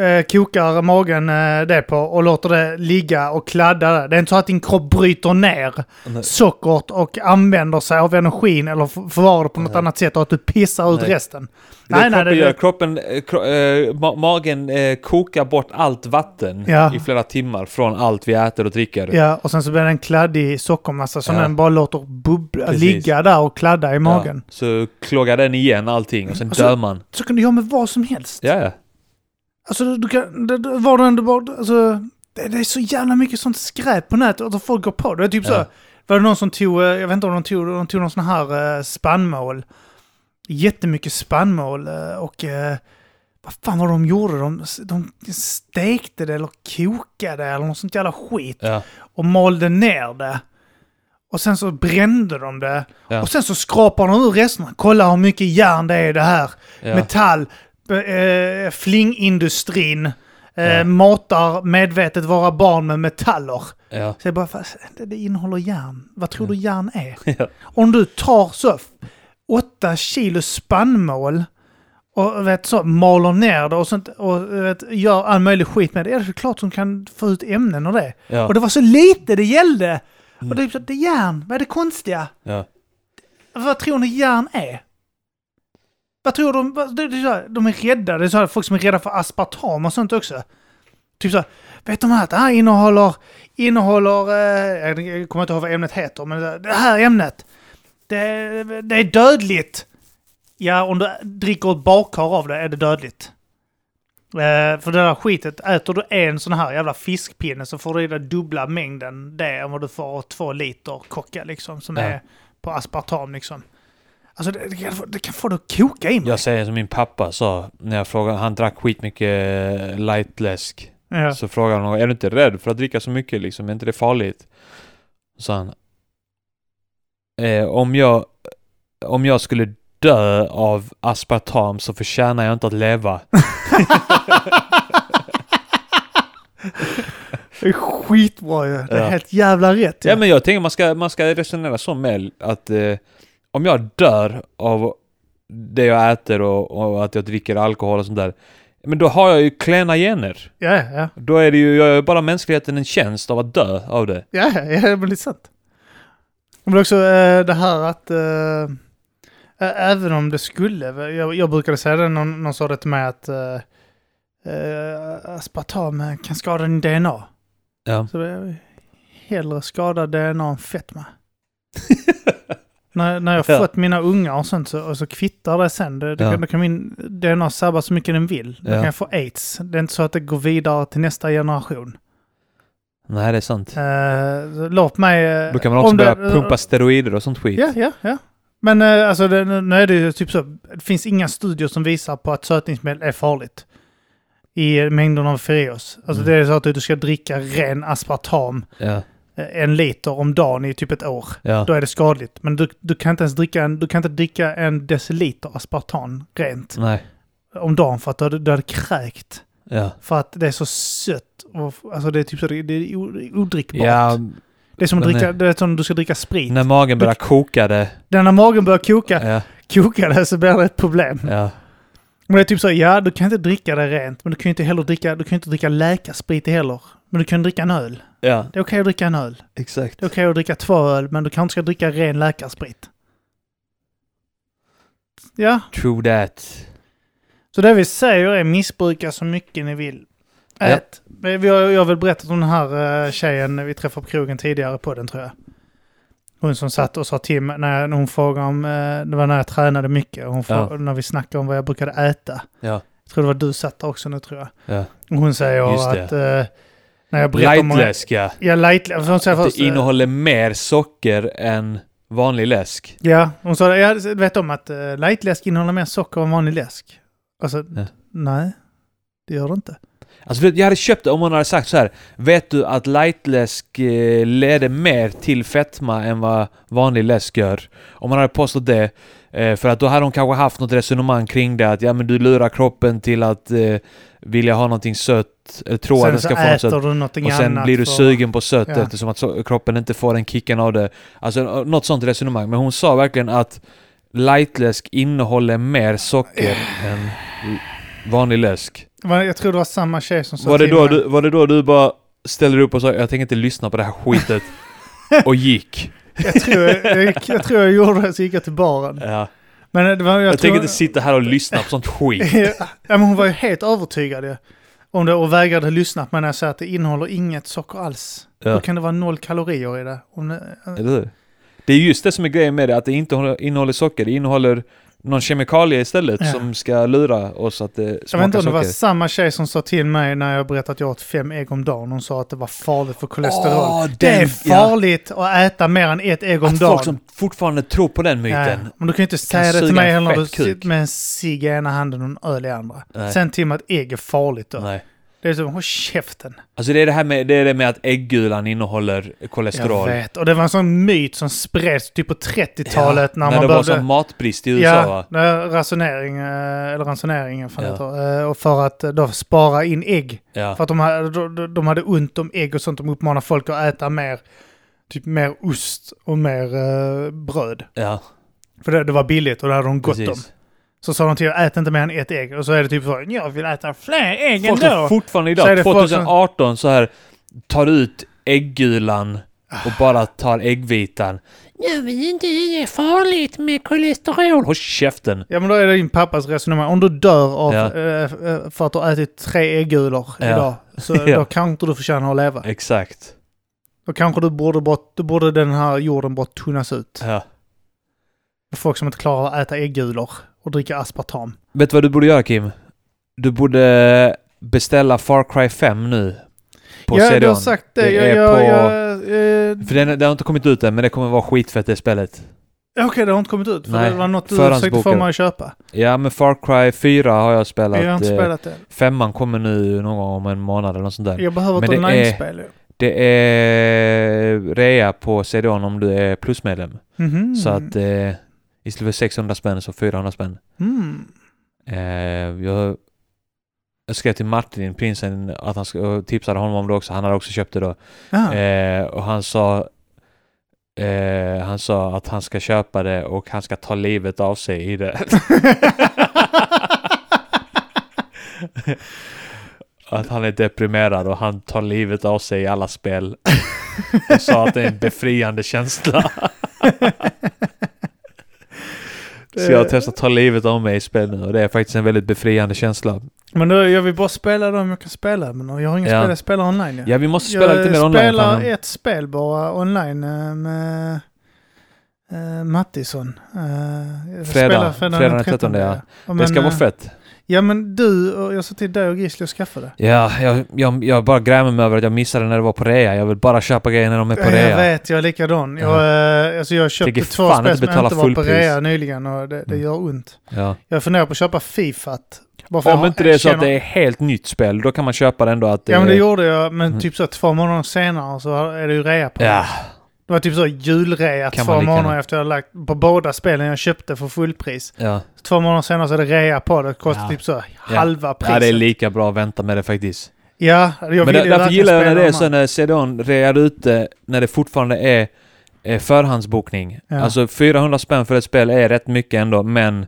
C: eh, kokar magen eh, det på och låter det ligga och kladda där. Det är inte så att din kropp bryter ner
B: Nej.
C: sockret och använder sig av energin eller f- förvarar det på något annat sätt och att du pissar ut
B: Nej.
C: resten.
B: Det
C: Nej, nej,
B: kroppen
C: det,
B: gör,
C: det,
B: kroppen, eh, kro, eh, ma- magen eh, kokar bort allt vatten
C: Ja.
B: i flera timmar från allt vi äter och dricker.
C: ja, och sen så blir det en kladdig sockermassa som
B: Ja.
C: den bara låter bubbla,
B: Precis.
C: ligga där och kladda i
B: Ja.
C: magen. Alltså-
B: Så kloggar den igen allting och sen
C: Och så-
B: dör man.
C: Så kan du göra med vad som helst.
B: Ja, ja.
C: Alltså, du, du kan, det, det, var du ändå bara, alltså, det, det är så jävla mycket sånt skräp på nätet och att folk går på det. Det är typ
B: Ja.
C: så, var det någon som tog, eh, jag vet inte om de tog, de tog någon sån här eh, spannmål. Jättemycket spannmål eh, och eh, vad fan var det de gjorde? De, de stekte det eller kokade eller något sånt jävla skit
B: ja.
C: och malde ner det. Och sen så brände de det.
B: Ja.
C: Och sen så skrapar de ur resterna. Kolla hur mycket järn det är i det här.
B: Ja.
C: Metall, b- eh, flingindustrin eh,
B: Ja.
C: matar medvetet våra barn med metaller.
B: ja.
C: Så jag bara, fast det, det innehåller järn. Vad tror du järn är?
B: Ja.
C: Om du tar så f- åtta kilo spannmål och vet så, maler ner det och, sånt, och vet, gör all möjlig skit med det. Ja, det är klart som kan få ut ämnen och det.
B: Ja. Mm.
C: Och det var så lite det gällde! Och det är så, det är järn, vad är det konstiga?
B: ja.
C: Vad tror ni järn är? Vad tror de? vad- Det, det, är så här, de är rädda. Det är så här, folk som är rädda för aspartam och sånt också. Typ så här, vet de här att det här innehåller, innehåller, eh, jag jag kommer inte ihåg vad ämnet heter, men det- det här ämnet, det, det är dödligt. Ja, om du dricker ett badkar av det är det dödligt. Eh, för det där skitet, äter du en sån här jävla fiskpinne så får du i dig dubbla mängden det än vad du får av två liter kocka liksom, som
B: Ja.
C: är på aspartam liksom. Alltså det, det, kan, få- det kan få det att koka i mig.
B: Jag säger som min pappa sa när jag frågade, han drack skitmycket lightläsk.
C: Ja.
B: Så frågade han honom, är du inte rädd för att dricka så mycket liksom? Är inte det farligt? Så sa han, eh, om, jag, om jag skulle dö av aspartam så förtjänar jag inte att leva.
C: Det är skitbra ju. Det är
B: Ja.
C: helt jävla rätt ju.
B: Ja men jag tänker man ska, man ska resonera så med att eh, om jag dör av det jag äter och, och att jag dricker alkohol och sånt där. Men då har jag ju klena gener.
C: ja, ja.
B: Då är det ju, jag gör bara mänskligheten en tjänst av att dö av det.
C: Ja, ja, ja, men det är sant. Men också eh, det här att eh, ä- även om det skulle, jag, jag brukade säga det, någon, någon sa det till mig att eh, eh, aspartam kan skada din DNA.
B: Ja.
C: Så jag hellre skada DNA än fetma. när, när jag
B: Ja.
C: fått mina ungar och sånt så, och så kvittar det sen. Det, det,
B: Ja.
C: Då kan min DNA sabba så mycket den vill. Då
B: Ja.
C: kan jag få aids. Det är inte så att det går vidare till nästa generation.
B: Nej det är sant.
C: Eh, så låt mig... eh,
B: Då kan man också
C: om
B: börja
C: det-
B: pumpa steroider och sånt skit.
C: Ja, ja, ja. Men eh, alltså, det, nu nu är det ju typ så. Det finns inga studier som visar på att sötningsmedel är farligt. I mängden av Ferios. Alltså
B: Mm.
C: det är så att du ska dricka ren aspartam
B: Ja.
C: eh, en liter om dagen i typ ett år.
B: Ja.
C: Då är det skadligt. Men du, du kan inte ens dricka en, du kan inte dricka en deciliter aspartam rent
B: Nej.
C: om dagen för att du, du hade kräkt.
B: Ja.
C: För att det är så sött. Och, alltså det är typ så, det, det är o- odrickbart.
B: Ja,
C: det är som att
B: men
C: dricka,
B: det-
C: det är som du ska dricka sprit.
B: när magen börjar koka det.
C: Den när magen börjar koka,
B: Ja.
C: koka det så blir det ett problem.
B: Ja.
C: Men det är typ så, ja du kan inte dricka det rent, men du kan ju inte heller dricka, du kan ju inte dricka läkarsprit heller. Men du kan dricka en öl.
B: Ja.
C: Det är okej att dricka en öl.
B: Exakt.
C: Det är okej att dricka två öl, men du kanske inte ska dricka ren läkarsprit. Ja,
B: True that.
C: så det vi säger är missbruka så mycket ni vill.
B: Ja.
C: Ät. Men Vi har, jag har väl berättat om den här eh, tjejen vi träffade på krogen tidigare på den tror jag. Hon som satt och sa till mig när, när hon frågade om, eh, det var när jag tränade mycket, och hon frågade, när vi snackade om vad jag brukade äta.
B: Ja.
C: Jag tror det var du satt där också nu tror jag.
B: ja.
C: Och Hon säger
B: Just det.
C: att... eh, när jag berättar om...
B: Lightläsk ja.
C: Ja, lightläsk. Hon säger
B: Att
C: först... eh,
B: det innehåller mer socker än vanlig läsk.
C: ja, hon sa det. Jag vet om att eh, lightläsk innehåller mer socker än vanlig läsk. Alltså,
B: Ja.
C: nej. Det gör det inte.
B: Alltså vet du, jag hade köpt det om hon hade sagt så här. Vet du att lightläsk eh, leder mer till fetma än vad vanlig läsk gör? Om man hade påstått det. eh, För att då hade hon kanske haft något resonemang kring det att ja men du lurar kroppen till att eh, vilja ha någonting sött. Eller tro att
C: sen
B: den ska
C: så
B: få något sött.
C: äter du någonting
B: Och sen
C: annat.
B: blir du
C: för-
B: sugen på sött
C: Ja.
B: eftersom att so- kroppen inte får den kicken av det. Alltså något sånt resonemang. Men hon sa verkligen att lightläsk innehåller mer socker än vanlig läsk.
C: Men Jag tror det var samma tjej som sa
B: Var det,
C: till
B: då
C: mig-
B: du, var det då du bara ställde dig upp och sa jag tänker inte lyssna på det här skitet och gick?
C: Jag tror jag, jag, jag tror jag gjorde det så gick jag till baren.
B: Ja.
C: Men det var, jag,
B: Jag,
C: tror,
B: tänker inte sitta här och lyssna på sånt skit.
C: ja, men hon var ju helt övertygad ju. om det och vägrade lyssna. Men jag säger att det innehåller inget socker alls.
B: Ja.
C: Hur kan det vara noll kalorier i det? Om det
B: Eller hur? Det är just det som är grejen med det, att det inte håller- innehåller socker. Det innehåller någon kemikalie istället
C: Ja.
B: som ska lura oss att det
C: jag vet inte
B: smakar
C: om det var
B: socker.
C: samma tjej som sa till mig när jag berättade att jag åt fem ägg om dagen. Hon sa att det var farligt för kolesterol.
B: Åh,
C: det är
B: den-
C: farligt att äta mer än ett ägg om
B: Att
C: dagen.
B: folk som fortfarande tror på den myten.
C: Ja, men du kan ju inte säga
B: Kan
C: det till
B: suga
C: mig
B: en
C: heller när du
B: fett kuk.
C: sitter med en cigg i ena handen och en öl i andra.
B: Nej.
C: Sen till och med att ägg är farligt då.
B: Nej.
C: Det är som, håll käften.
B: Alltså det är det här med, det är det med att äggulan innehåller kolesterol.
C: Jag vet. Och det var en sån myt som spreds typ på 30-talet när,
B: när
C: man
B: det
C: började...
B: var som matbrist i USA
C: Ja,
B: va?
C: när ransonering, eh, eller ransoneringen fan
B: Ja.
C: det heter. Eh, Och för att eh, då spara in ägg.
B: Ja.
C: För att de hade, de, de hade ont om ägg och sånt. De uppmanar folk att äta mer, typ mer ost och mer eh, bröd.
B: ja.
C: För det, det var billigt och det hade de gott om.
B: Precis.
C: Så sa de till ät inte mer än ett ägg. Och så är det typ så, jag vill äta fler ägg
B: Folk
C: ändå.
B: som fortfarande
C: Så är det
B: idag,
C: folk som-
B: 2018, så här tar ut äggulan
C: Ah.
B: och bara tar äggvitan. Nu är inte det är farligt med kolesterol. Håll käften!
C: Ja men då är det din pappas resonemang. Om du dör av,
B: Ja.
C: eh, eh, för att du har ätit tre äggulor
B: Ja.
C: idag, så
B: Ja.
C: då kanske inte du förtjänar att leva.
B: Exakt.
C: Då kanske du borde, bort, då borde den här jorden bara tunnas ut.
B: Ja.
C: Folk som inte klarar att äta äggulor och dricka aspartam.
B: Vet du vad du borde göra Kim? Du borde beställa Far Cry 5 nu. På
C: ja, du
B: CD-ON.
C: har sagt det.
B: Det
C: jag,
B: är
C: jag,
B: på-
C: jag, eh,
B: För den, den har inte kommit ut än, men det kommer vara skitfett det spelet.
C: Okej, det har inte kommit ut. För
B: Nej,
C: det var något du försökte få
B: förhandsboken.
C: mig att köpa.
B: Ja, men Far Cry 4 har jag spelat.
C: Jag har inte
B: eh,
C: spelat det.
B: Femman kommer nu någon gång om en månad eller något sånt där.
C: Jag behöver ett
B: men det är-
C: online-spel. ju.
B: Det är rea på CD-ON om du är plusmedlem.
C: Mhm.
B: Så att eh, istället för 600 spänn så 400 spänn.
C: Mm.
B: Eh, jag, jag skrev till Martin, prinsen, att han sk- och tipsade honom om det också. Han hade också köpt det då.
C: Ja.
B: Eh, och han sa eh, han sa att han ska köpa det och han ska ta livet av sig i det. att han är deprimerad och han tar livet av sig i alla spel. och sa att det är en befriande känsla. Så jag
C: Eh,
B: har testat att ta livet av mig i spel nu och det är faktiskt en väldigt befriande känsla.
C: Men då, jag vill bara spela dem jag kan spela. Men jag har inga
B: Ja.
C: spel, jag spelar online. Ja.
B: Ja, vi måste spela
C: jag
B: lite mer online.
C: spelar
B: fan.
C: ett spel bara online eh, med eh, Mattisson. Eh, jag
B: Fredag.
C: spelar
B: Fredag den 13, ja.
C: Ja,
B: Det ska
C: men,
B: vara
C: eh,
B: fett.
C: Ja men du, och jag sa till dig och Gisli att skaffa det.
B: Ja, jag, jag, jag bara grämer mig över att jag missade när det var på rea. Jag vill bara köpa grejer när de är på
C: Ja, jag
B: rea.
C: vet, jag är likadan. Jag, eh, alltså jag köpte
B: Tänker
C: två
B: fan inte
C: spel som
B: betala
C: inte var på
B: fullpris.
C: rea nyligen och det, det
B: Mm.
C: gör ont.
B: Ja.
C: Jag funderar på att köpa Fifat. Bara för jag
B: Om
C: har-
B: inte det är så
C: känner-
B: att det är helt nytt spel, då kan man köpa det ändå att det
C: Ja men det
B: är-
C: gjorde jag, men
B: Mm.
C: typ så två månader senare så är det ju rea på
B: Ja,
C: Det var typ så julrea
B: Kan
C: två
B: man lika
C: månader
B: gärna.
C: efter jag lagt på båda spelen jag köpte för fullpris.
B: ja.
C: Två månader senare så är det rea på det. Det kostar
B: Ja.
C: typ så halva priset.
B: ja, det är lika bra att vänta med det faktiskt.
C: Ja,
B: men
C: jag ville
B: där,
C: ju
B: därför
C: verkligen
B: gillar jag
C: spela
B: när det är
C: de
B: så
C: här.
B: när CDON rear ute, när det fortfarande är, är förhandsbokning.
C: Ja.
B: Alltså 400 spänn för ett spel är rätt mycket ändå, men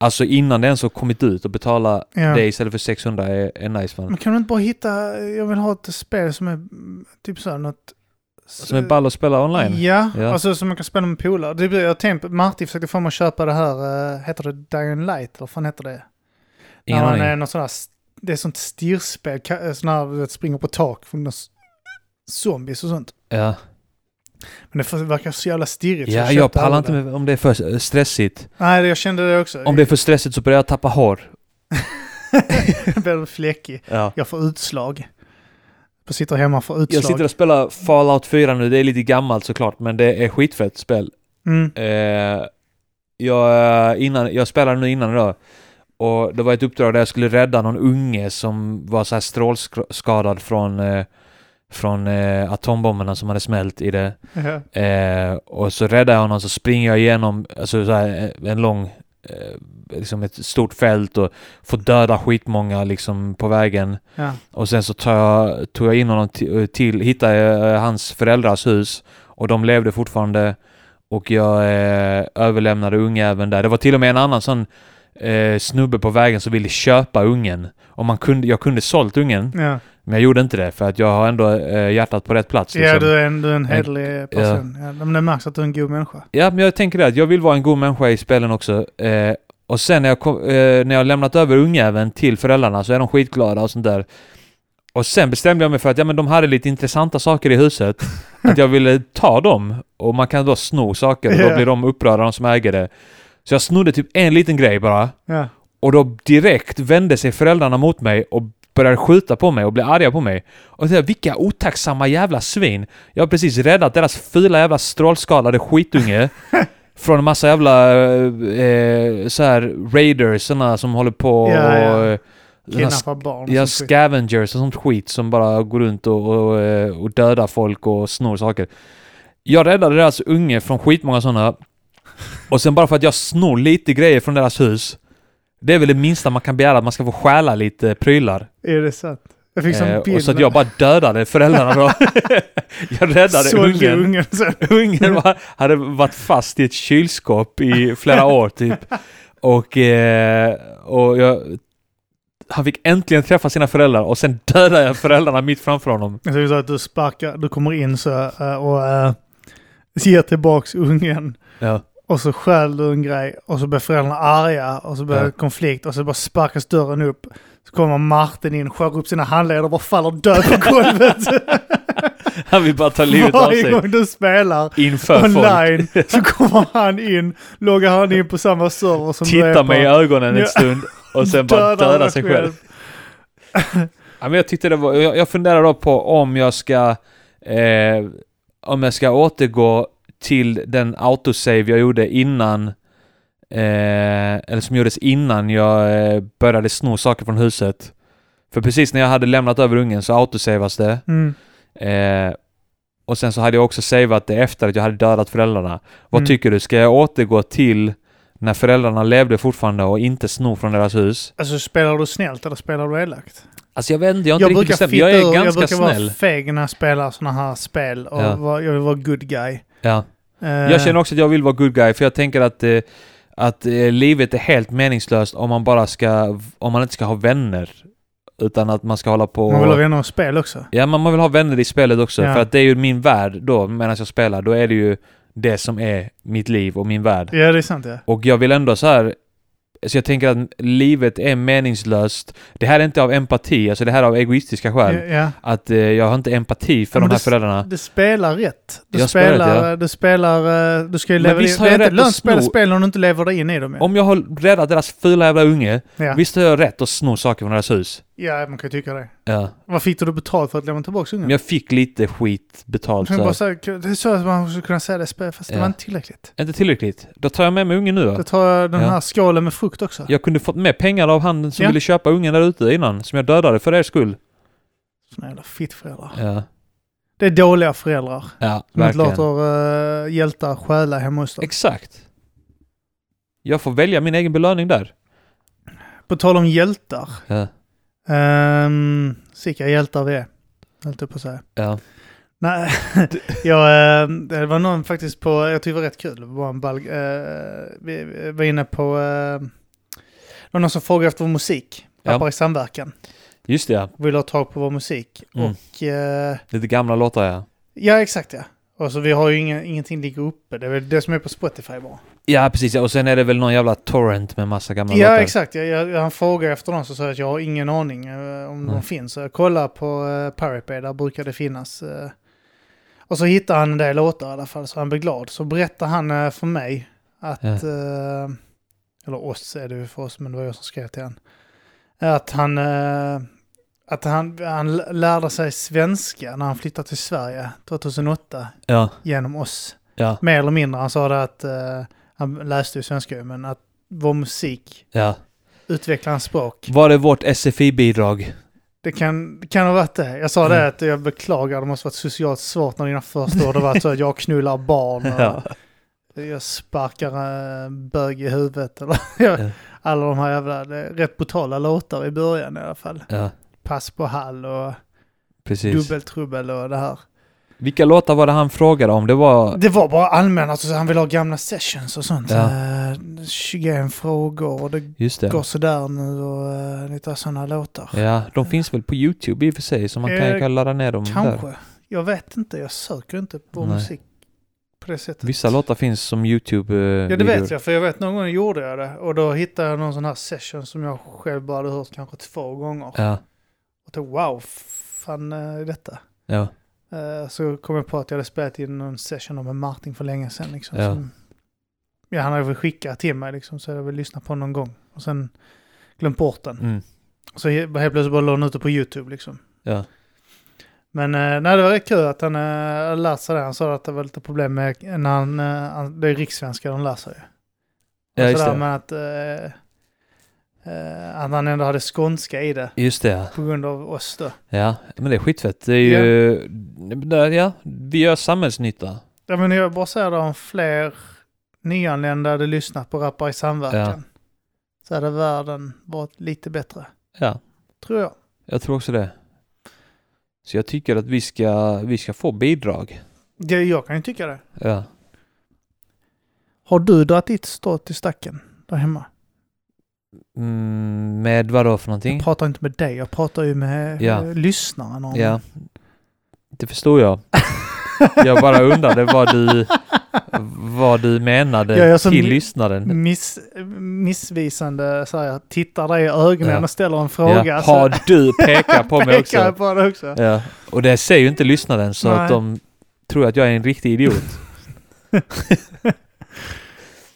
B: alltså innan det ens har kommit ut och betala
C: Ja.
B: det istället för 600 är, är nice man.
C: Men kan du inte bara hitta, jag vill ha ett spel som är mm, typ så här något...
B: Som är ball att spela online.
C: Ja,
B: Ja.
C: alltså som man kan spela med polare. Det blir- Jag tänkte, Martin försökte få mig att köpa det här, eh, heter det Dying Light? Eller vad fan heter det?
B: Ingen
C: när man
B: aning.
C: är någon sån här, det är sånt stirrspel, ka- eh, sån här du vet, springer på tak från någon s- zombies och sånt.
B: Ja,
C: Men det verkar så jävla stirrigt. så
B: ja jag
C: köpte
B: pallar
C: aldrig
B: inte
C: det.
B: med, om det är för stressigt.
C: Nej, jag kände det också.
B: Om det är för stressigt så börjar jag tappa hår.
C: Jag blir fläckig.
B: Ja.
C: Jag får utslag. Jag sitter hemma och får utslag.
B: Jag sitter och spelar Fallout 4 nu, det är lite gammalt såklart, men det är skitfett spel.
C: mm.
B: Eh, jag, eh, innan, jag spelade nu innan idag Och det var ett uppdrag där jag skulle rädda någon unge som var så här strålskadad från, eh, från eh, atombomberna som hade smält i det.
C: Ja.
B: Eh, och så räddar jag honom så springer jag igenom alltså, så här, eh, en lång, eh, liksom ett stort fält och får döda skitmånga liksom på vägen.
C: Ja.
B: Och sen så tar jag, tog jag in honom till, till hittade jag, eh, hans föräldrars hus och de levde fortfarande och jag eh, överlämnade ungjäveln där. Det var till och med en annan sån eh, snubbe på vägen som ville köpa ungen. Och man kunde, jag kunde sålt ungen,
C: Ja.
B: men jag gjorde inte det för att jag har ändå eh, hjärtat på rätt plats.
C: ja,
B: Liksom.
C: du är en, du är en hederlig person. Ja. men det märks att du är en god människa.
B: Ja, men jag tänker det att jag vill vara en god människa i spelen också. Eh, och sen när jag, kom, eh, när jag har lämnat över ungjäveln till föräldrarna så är de skitglada och sånt där. Och sen bestämde jag mig för att ja, men de hade lite intressanta saker i huset. att jag ville ta dem. Och man kan då sno saker och
C: Ja.
B: då blir de upprörda, de som äger det. Så jag snodde typ en liten grej bara.
C: Ja.
B: Och då direkt vände sig föräldrarna mot mig och började skjuta på mig och blev arga på mig. Och jag vilka otacksamma jävla svin. Jag har precis räddat deras fula jävla strålskadade skitunge från en massa jävla eh, eh, så här raiders, såna som håller på och...
C: Ja, ja.
B: eh, såna
C: Kidnappa barn.
B: Ja,
C: och sånt skit.
B: scavengers och sånt skit som bara går runt och, och, eh, och dödar folk och snor saker. Jag räddade deras unge från skitmånga sådana. Och sen bara för att jag snor lite grejer från deras hus. Det är väl det minsta man kan begära, att man ska få stjäla lite prylar.
C: Är det sant? Jag fick som
B: Eh,
C: bild.
B: och så att jag bara dödade föräldrarna då. jag räddade
C: Sålde
B: ungen.
C: ungen sen.
B: Ungen var, hade varit fast i ett kylskåp i flera år typ. Och, eh, och jag, han fick äntligen träffa sina föräldrar och sen dödade jag föräldrarna mitt framför honom.
C: Jag tycker så att du sparkar, du kommer in så eh, och uh, ger tillbaks ungen.
B: Ja.
C: Och så stjäl du en grej och så blir föräldrarna arga och så blir det
B: Ja.
C: konflikt och så bara sparkas dörren upp. Så kommer Martin in, skär upp sina handleder och bara faller död på golvet.
B: Han vill bara ta livet av
C: Varje
B: sig
C: gång du spelar
B: inför folk.
C: online så kommer han in, loggar han in på samma server som du är
B: Titta
C: på.
B: mig i ögonen en
C: Ja.
B: stund och sen bara
C: Dödar
B: döda
C: dig
B: sig själv. Ja, men jag tyckte det var, jag, jag funderar då på om jag ska, eh, om jag ska återgå till den autosave jag gjorde innan, eh, eller som gjordes innan jag eh, började sno saker från huset. För precis när jag hade lämnat över ungen så autosavas det.
C: Mm.
B: Eh, och sen så hade jag också savat det efter att jag hade dödat föräldrarna. Vad
C: Mm.
B: tycker du? Ska jag återgå till när föräldrarna levde fortfarande och inte sno från deras hus?
C: Alltså spelar du snällt eller spelar du elakt?
B: Alltså jag vet inte, jag har inte riktigt bestämt. Jag
C: fitta
B: är
C: ur-
B: ganska
C: jag brukar
B: snäll.
C: vara feg när jag spelar sådana här spel och
B: Ja.
C: vara, jag vill vara good guy.
B: Ja.
C: Eh,
B: Jag känner också att jag vill vara good guy, för jag tänker att, eh, att eh, livet är helt meningslöst om man bara ska, om man inte ska ha vänner. Utan att man ska hålla på
C: Man vill ha
B: och,
C: vänner och spel också.
B: Ja, men man vill ha vänner i spelet också.
C: Ja.
B: För att det är ju min värld då, medan jag spelar. Då är det ju det som är mitt liv och min värld.
C: Ja, det är sant ja.
B: Och jag vill ändå så här... Så jag tänker att livet är meningslöst. Det här är inte av empati, alltså det här är av egoistiska
C: ja,
B: skäl.
C: ja.
B: Att eh, jag har inte empati för
C: Ja, men
B: de här
C: det-
B: föräldrarna.
C: Du spelar rätt. Du
B: Jag spelar
C: spelar,
B: rätt,
C: du spelar, eh, du ska ju
B: Men
C: leva
B: visst
C: in-
B: har jag
C: det är
B: rätt
C: inte lönt
B: att
C: att spela
B: sno-
C: spel om du inte lever dig in i dem. Ja.
B: Om jag har räddat deras fula jävla unge,
C: Ja.
B: visst har jag rätt att sno saker från deras hus?
C: ja, man kan ju tycka det.
B: Ja.
C: Vad fick du betalt för att lämna tillbaka ungen?
B: Men jag fick lite skit betalt.
C: Jag
B: Så.
C: bara
B: här.
C: så här, det är så att man skulle kunna säga det spel, fast det
B: Ja.
C: var inte tillräckligt.
B: Inte tillräckligt. Då tar jag med mig ungen nu
C: Då
B: då.
C: tar jag den
B: Ja.
C: här skålen med frukt också.
B: Jag kunde fått med pengar av han som
C: Ja.
B: ville köpa ungen där ute innan, som jag dödade för er skull.
C: Såna jävla fittföräldrar.
B: Ja,
C: Det är dåliga föräldrar.
B: ja
C: Som inte
B: verkligen.
C: låter uh, hjältar stjäla hemma hos dem.
B: Exakt. Jag får välja min egen belöning där.
C: På tal om hjältar.
B: Ja.
C: Um, Sicka hjältar vi är. Höll jag på att säga.
B: Ja.
C: Nej, jag, ehm, det var någon faktiskt på, jag tyckte det var rätt kul, det var en balg, eh, vi vi var inne på, eh, det var någon som frågade efter vår musik,
B: Ja.
C: Appar i samverkan,
B: Just det, ja.
C: ville ha tag på vår musik.
B: Mm.
C: Och, eh,
B: Lite gamla låtar ja.
C: ja exakt ja. Och så vi har ju inga, ingenting ligger uppe, det är väl det som är på Spotify bara.
B: Ja, precis. ja. Och sen är det väl någon jävla torrent med massa gamla
C: Ja
B: låtar.
C: exakt, jag, jag, han frågade efter dem så sa jag att jag har ingen aning eh, om
B: Mm.
C: de finns. Så jag kollar på eh, Pirate Bay, där brukar det finnas. Eh, och så hittar han en del låtar i alla fall så han blir glad. Så berättar han eh, för mig att,
B: Ja.
C: eh, eller oss är det ju för oss men det var jag som skrev till han. Att han, eh, att han, han lärde sig svenska när han flyttade till Sverige 2008
B: Ja,
C: genom oss.
B: ja,
C: Mer eller mindre, han sa det att, eh, han läste ju svenska ju, men att vår musik
B: ja.
C: utveckla hans språk.
B: Var det vårt SFI-bidrag?
C: Det kan, det kan ha varit det. Jag sa
B: Mm.
C: det att jag beklagar, det måste varit socialt svårt när dina första år det var så att jag knullar barn och
B: Ja.
C: jag sparkar en bög i huvudet. Eller, jag, alla de här jävla det är rätt brutala låtar i början i alla fall.
B: ja,
C: Pass på hall och
B: precis.
C: dubbeltrubbel och det här.
B: Vilka låtar var det han frågade om? Det var...
C: Det var bara allmänt, alltså, han vill ha gamla sessions och sånt.
B: Ja.
C: Eh, 21 frågor och det
B: Just det.
C: går sådär nu och eh, lite sådana låtar.
B: Ja, de finns väl på YouTube i och för sig, så man kan ju
C: Eh,
B: kan ladda ner dem
C: Kanske.
B: Mm, där.
C: Jag vet inte, jag söker inte på
B: Nej.
C: musik på det sättet.
B: Vissa låtar finns som eh, YouTube-videor.
C: Ja det vet jag, för jag vet någon gång gjorde jag det. Och då hittade jag någon sån här session som jag själv bara hade hört kanske två gånger.
B: Ja,
C: Och tänkte wow, fan eh, är detta?
B: ja.
C: Eh, Så kom jag på att jag hade spelat in någon session med Martin för länge sedan. Liksom,
B: Ja.
C: som, ja, han hade väl skickat till mig liksom, så jag hade väl lyssnat på den någon gång. Och sen glömt bort den.
B: Mm.
C: Så he- helt plötsligt bara la hon ut det på YouTube liksom.
B: Ja.
C: Men eh, nej, det var rätt kul att han eh, lär sig det. Han sa att det var lite problem med när han, eh, han det är rikssvenska de lär sig ju.
B: Ja,
C: Och
B: just
C: sådär,
B: det.
C: Men att, eh, eh, att han ändå hade skånska i det.
B: Just det, ja.
C: På grund av oss då.
B: ja. Men det är skitfett. Det är ju... där, Ja, vi gör samhällsnytta.
C: Ja, men jag bara säger det om fler nyanlända hade lyssnat på Rappar i samverkan. Så hade världen varit lite bättre.
B: Ja,
C: Tror jag.
B: jag tror också det. Så jag tycker att vi ska, vi ska få bidrag.
C: Det, jag kan ju tycka det.
B: Ja.
C: Har du dragit ditt strå till stacken där hemma?
B: Mm, med vad då för någonting?
C: Jag pratar inte med dig, jag pratar ju med
B: Ja.
C: eh, lyssnaren. Om.
B: Ja, det förstår jag. Jag bara undrade vad du, vad du menade
C: Ja, jag som-
B: till lyssnaren.
C: Miss, missvisande så här, tittar dig i ögonen
B: Ja.
C: och ställer en fråga.
B: Ja,
C: så
B: har du pekat på mig
C: pekar
B: också?
C: jag på det också.
B: Ja. Och det ser ju inte lyssnaren så
C: Nej.
B: att de tror att jag är en riktig idiot.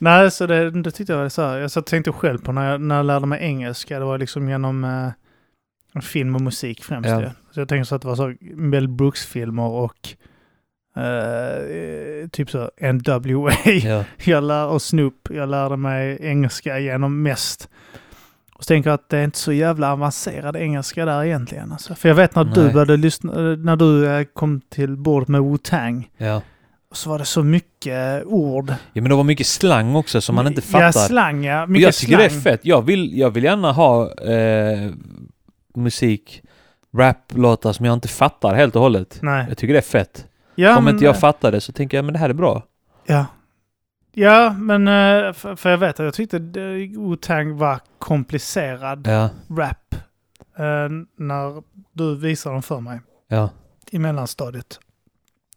C: Nej, så det, det tyckte jag var så här. Jag så tänkte själv på när jag, när jag lärde mig engelska. Det var liksom genom eh, film och musik främst.
B: Ja.
C: ju. Så jag tänkte så att det var så Mel Brooks-filmer och eh, typ så NWA.
B: Ja,
C: Jag lär, och Snoop. Jag lärde mig engelska genom mest. Och så tänker jag att det är inte så jävla avancerad engelska där egentligen. Alltså. För jag vet när du
B: Nej.
C: började lyssna, eh, när du eh, kom till bordet med Wu-Tang.
B: ja.
C: och Så var det så mycket ord
B: ja, men det var mycket slang också som man inte fattar.
C: Ja, slang ja.
B: Och
C: Mycket
B: jag tycker
C: slang.
B: det är fett. Jag vill, jag vill gärna ha eh, musik, rap-låtar som jag inte fattar helt och hållet.
C: Nej.
B: Jag tycker det är fett.
C: Ja,
B: Om
C: men, eh,
B: inte jag fattar det så tänker jag men det här är bra.
C: ja. ja, men eh, för, för jag vet att jag tyckte det- Wu-Tang var komplicerad
B: Ja,
C: rap eh, när du visade dem för mig
B: ja,
C: i mellanstadiet.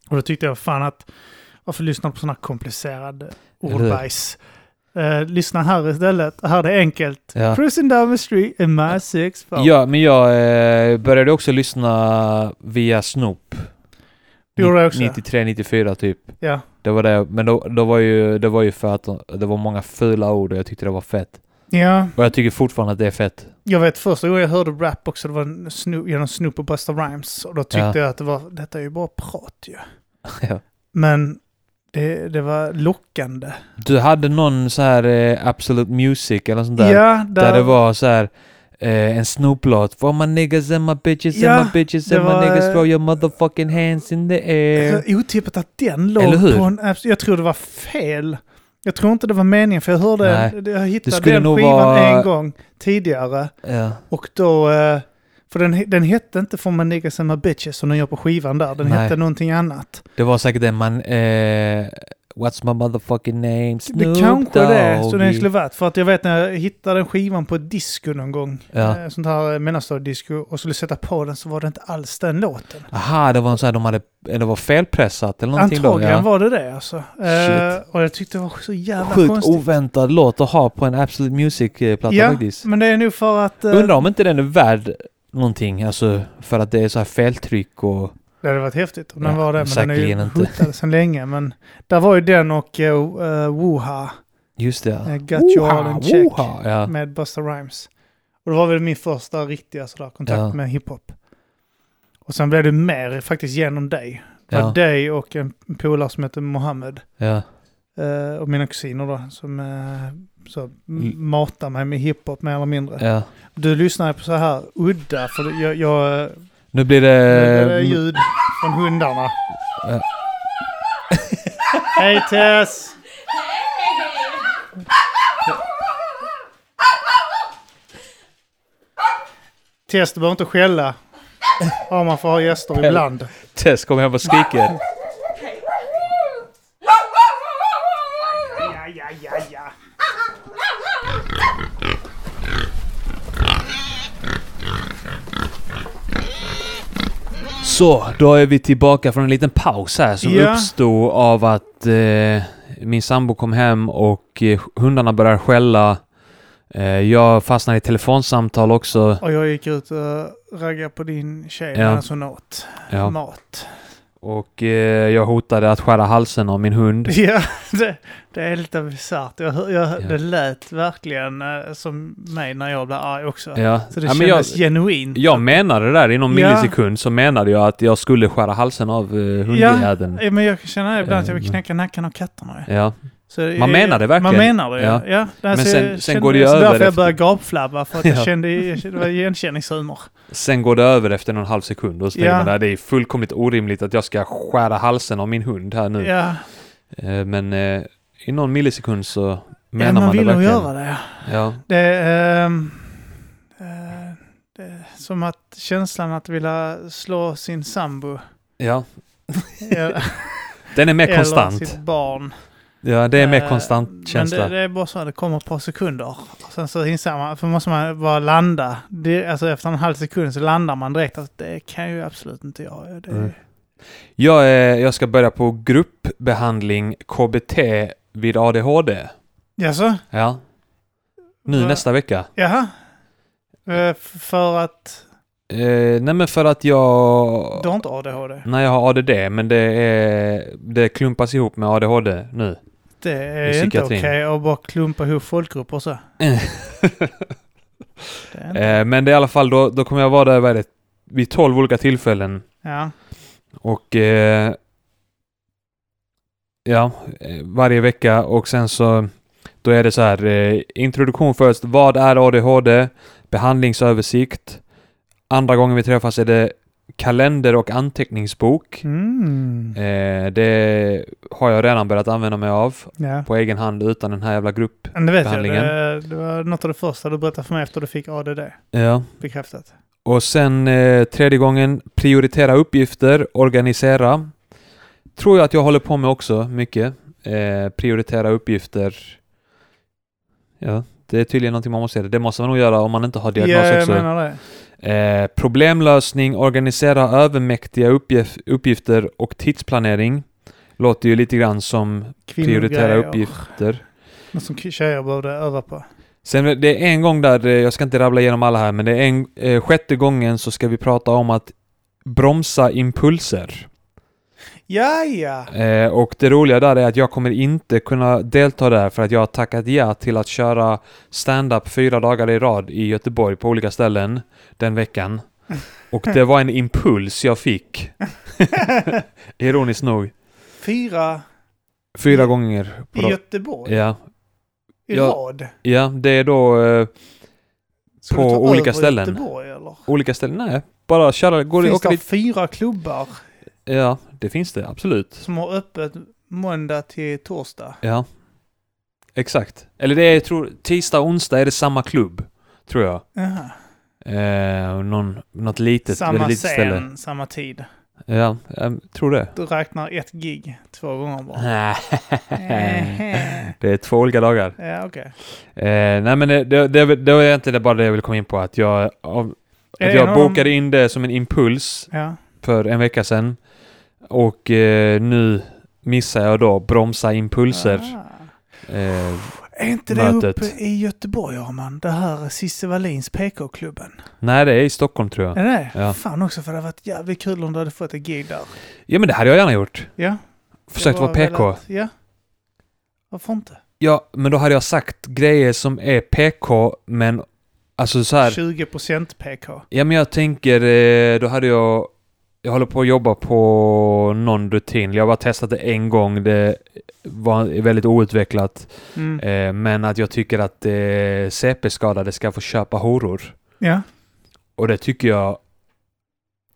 C: Och då tyckte jag fan att varför lyssna på sådana komplicerade
B: Eller hur?
C: ordbajs? Eh, lyssna här istället. Här är det enkelt.
B: ja.
C: Cruising down the street in my six four.
B: Ja, men jag eh, började också lyssna via Snoop.
C: Det gjorde jag också.
B: 93, 94 typ.
C: Ja.
B: Det var det, men då, då var ju, det var ju för att det var många fula ord och jag tyckte det var fett.
C: ja,
B: Och jag tycker fortfarande att det är fett.
C: Jag vet första gången jag hörde rap också, det var en Snoop, genom Snoop och Busta Rhymes. Och då tyckte
B: Ja.
C: jag att det var, detta är ju bara prat ju.
B: Ja.
C: Men det, det var lockande.
B: Du hade någon så här eh, Absolute Music eller sånt där.
C: ja,
B: Där det var så här eh, en Snoop-låt. For my niggas and my bitches
C: Ja,
B: and my bitches
C: det
B: and my
C: var, Alltså-
B: niggas
C: eh,
B: throw your motherfucking hands in the air.
C: så otippat att den
B: Eh, Eller
C: låg
B: hur?
C: på en app. Jag tror det var fel. Jag tror inte det var meningen, för jag hörde, jag
B: Det
C: hittade
B: skulle
C: den
B: nog
C: skivan
B: vara-
C: en gång tidigare.
B: Ja.
C: Och då, eh, för den, den hette inte For My Niggas and My Bitches som den gör på skivan där. Den
B: Nej.
C: hette någonting annat.
B: Det var säkert den man... Eh, what's my motherfucking name?
C: Det kanske det är så den
B: Doggy.
C: skulle varit. För att jag vet när jag hittade den skivan på ett disco någon gång.
B: Ja.
C: Eh, Sånt här eh, mellanstadiedisco. Och skulle sätta på den så var det inte alls den låten.
B: Aha, det var en sån här de hade... Det var felpressat eller någonting
C: Antagligen
B: då?
C: var det det alltså. Eh, och jag tyckte det var
B: Ja.
C: så jävla
B: Sjukt
C: konstigt.
B: oväntad låt att ha på en Absolute Music-platta
C: Ja,
B: faktiskt.
C: men det är nog för att... eh,
B: Undrar om inte den är värd någonting, alltså för att det är så här feltryck och...
C: Det hade varit häftigt om den
B: Ja,
C: var det. Men den är
B: säkerligen
C: ju
B: inte.
C: hotad sedan länge. Men där var ju den och uh, Woha.
B: Just det.
C: eh, Got you all in check.
B: woha, ja.
C: Med Busta Rhymes. Och det var väl min första riktiga sådär, kontakt
B: Ja.
C: med hiphop. Och sen blev det mer faktiskt genom dig. Det var
B: Ja,
C: dig och en polare som heter Mohammed.
B: ja,
C: Eh, och mina kusiner då, som eh, så m- mata mig med hiphop mer eller mindre.
B: Mm. Ja.
C: Du lyssnar ju på så här udda, för det- jag, jag,
B: Nu blir det... mm,
C: jag, det är ljud från hundarna.
B: Ja.
C: Hej Tess! Tess, du behöver inte skälla. Ja, man får ha gäster ibland.
B: Tess kommer hem och skriker.
C: Ja, ja, ja, ja.
B: Så, då är vi tillbaka från en liten paus här som
C: Ja.
B: uppstod av att eh, min sambo kom hem och eh, hundarna började skälla. Eh, jag fastnade i telefonsamtal också.
C: Och jag gick ut och raggade på din tjej
B: Ja.
C: medan hon åt
B: Ja.
C: mat.
B: Och eh, jag hotade att skära halsen av min hund.
C: Ja, det, det är lite bisarrt. Jag, hör- jag,
B: Ja.
C: Det lät verkligen eh, som mig när jag blev arg också.
B: Ja.
C: Så det
B: ja, men jag,
C: kändes genuint.
B: jag menade det där, inom
C: Ja.
B: millisekund så menade jag att jag skulle skära halsen av eh, hundjäveln.
C: Ja, men jag kan känna ibland att jag vill
B: Eh,
C: knäcka nacken av katterna. ju.
B: Ja.
C: Så
B: Man menar det verkligen.
C: Man menar det, ja.
B: Ja.
C: ja. men
B: sen- sen går det ju
C: därför
B: över
C: jag
B: efter-
C: började gapflabba, för att jag
B: Ja.
C: kände, jag kände- det var igenkänningshumor.
B: Sen går det över efter någon halv sekund och så
C: Ja.
B: tänker man där, det är fullkomligt orimligt att jag ska skära halsen av min hund här nu.
C: Ja,
B: Eh, Men eh, i någon millisekund så menar
C: ja,
B: man,
C: man vill
B: det
C: nog
B: verkligen.
C: göra det. ja.
B: Ja,
C: Det är, ehm, eh, det är som att känslan att vilja slå sin sambo.
B: ja.
C: Eller
B: Den är mer
C: eller
B: konstant.
C: sitt barn.
B: Ja, det är mer
C: Eh,
B: konstant känsla.
C: Men det, det är bara så att det kommer ett par sekunder. Och sen så inser man, för måste man bara landa. Det, alltså efter en halv sekund så landar man direkt. Alltså, det kan ju absolut inte jag. Det,
B: Mm. Jag, är, jag ska börja på gruppbehandling KBT vid ADHD.
C: Jaså?
B: Ja. Nu
C: Va?
B: nästa vecka.
C: Jaha? Eh, f- För att
B: Eh, nej men för att jag...
C: du har inte ADHD?
B: Nej jag har ADD men det, är, det klumpas ihop med ADHD nu.
C: Det
B: I
C: är inte okej
B: psykiatrin.
C: att bara klumpa ihop folkgrupper så. Det är inte,
B: Eh, men det är i alla fall då, då kommer jag vara där vad är det, vid 12 olika tillfällen.
C: ja.
B: Och... Eh, ja, eh, varje vecka och sen så... Då är det så här, eh, introduktion först. Vad är ADHD? Behandlingsöversikt. Andra gången vi träffas är det kalender och anteckningsbok.
C: Mm.
B: Eh, det har jag redan börjat använda mig av
C: ja.
B: på egen hand utan den här jävla grupp.
C: Men det vet jag.
B: behandlingen.
C: Det, det var något av det första du berättade för mig efter du fick ADD
B: Ja.
C: bekräftat.
B: Och sen eh, tredje gången, prioritera uppgifter, organisera. Tror jag att jag håller på med också mycket. Eh, prioritera uppgifter. Ja, det är tydligen någonting man måste göra. Det måste man nog göra om man inte har
C: Ja,
B: diagnos
C: jag
B: också.
C: menar det.
B: Eh, problemlösning, organisera övermäktiga uppgif- uppgifter och tidsplanering. Låter ju lite grann som prioritera
C: Kvinnogrejer.
B: uppgifter.
C: Något som tjejer borde öva på.
B: Sen det är en gång där, eh, jag ska inte rabbla igenom alla här, men det är en, eh, sjätte gången så ska vi prata om att bromsa impulser.
C: Ja, ja.
B: Eh, och det roliga där är att jag kommer inte kunna delta där för att jag har tackat ja till att köra stand-up fyra dagar i rad i Göteborg på olika ställen den veckan. Och det var en impuls jag fick. Ironiskt nog.
C: Fyra
B: Fyra gånger. På
C: i
B: ra-
C: Göteborg
B: ja.
C: i
B: Ja.
C: rad.
B: ja, det är då eh,
C: Ska
B: På
C: du ta
B: olika
C: över
B: ställen.
C: Göteborg, eller?
B: olika ställen. Nej, bara köra. Går det,
C: Finns
B: åka
C: det
B: dit
C: fyra klubbar
B: Ja, det finns det. Absolut.
C: som har öppet måndag till torsdag?
B: Ja. Exakt. Eller det är, jag tror, tisdag och onsdag är det samma klubb. Tror jag.
C: Jaha.
B: Eh, någon, något litet,
C: Samma
B: väldigt litet
C: scen,
B: ställe.
C: samma tid.
B: Ja, jag tror det.
C: Du räknar ett gig två gånger bara.
B: Nej,
C: Ehe.
B: det är två olika dagar.
C: ja, okej.
B: Eh, nej men det, det, det, är väl- det var egentligen bara det jag ville komma in på. Att jag, av,
C: Är
B: att
C: det en
B: jag
C: av de-
B: bokade in det som en impuls
C: Ja.
B: för en vecka sedan. Och eh, nu missar jag då bromsa impulser.
C: Ah.
B: Eh,
C: Är inte det
B: Mötet.
C: uppe i Göteborg, Arman? Det här Cissi Wallins PK-klubben?
B: nej, det är i Stockholm tror jag.
C: Är det det?
B: Ja.
C: Fan också, för det hade varit jävligt kul om du hade fått ett gig där.
B: Ja men det hade jag gärna gjort.
C: Ja.
B: Försökt
C: Jag
B: vara
C: bara
B: PK.
C: velat- Ja. Varför inte?
B: Ja, men då hade jag sagt grejer som är PK, men alltså så här.
C: 20% PK.
B: Ja, men jag tänker, eh, då hade jag Jag håller på att jobba på någon rutin. Jag har bara testat det en gång. Det var väldigt outvecklat.
C: Mm.
B: Eh, men att jag tycker att eh, CP-skadade ska få köpa horor.
C: Ja.
B: Och det tycker jag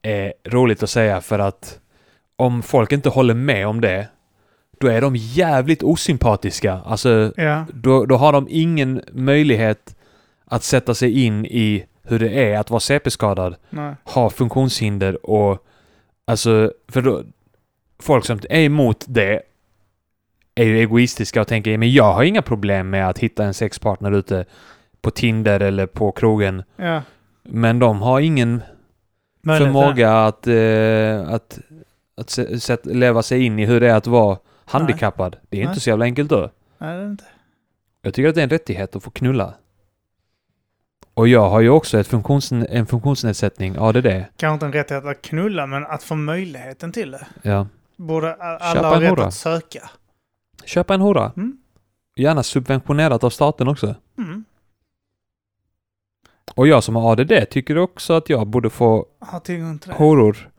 B: är roligt att säga för att om folk inte håller med om det, då är de jävligt osympatiska. Alltså,
C: Ja.
B: då, då har de ingen möjlighet att sätta sig in i hur det är att vara CP-skadad
C: Nej.
B: har funktionshinder och alltså, för då, folk som är emot det är ju egoistiska och tänker "Ja, men jag har inga problem med att hitta en sexpartner ute på Tinder eller på krogen.
C: Ja.
B: Men de har ingen
C: Möjlighet,
B: förmåga att, eh, att, att se, sätt, leva sig in i hur det är att vara handikappad. Det är
C: Nej.
B: inte så jävla enkelt då.
C: ja. Nej, det är inte.
B: Jag tycker att det är en rättighet att få knulla. Och jag har ju också ett funktions, en funktionsnedsättning, ADD.
C: Kanske inte en rättighet att knulla, men att få möjligheten till det.
B: Ja.
C: Borde a- alla
B: Köpa
C: ha
B: en
C: rätt
B: hora.
C: att söka.
B: Köpa en hora.
C: Mm.
B: Gärna subventionerat av staten också.
C: Mm.
B: Och jag som har ADD tycker också att jag borde få
C: Ha tillgång till det.
B: horor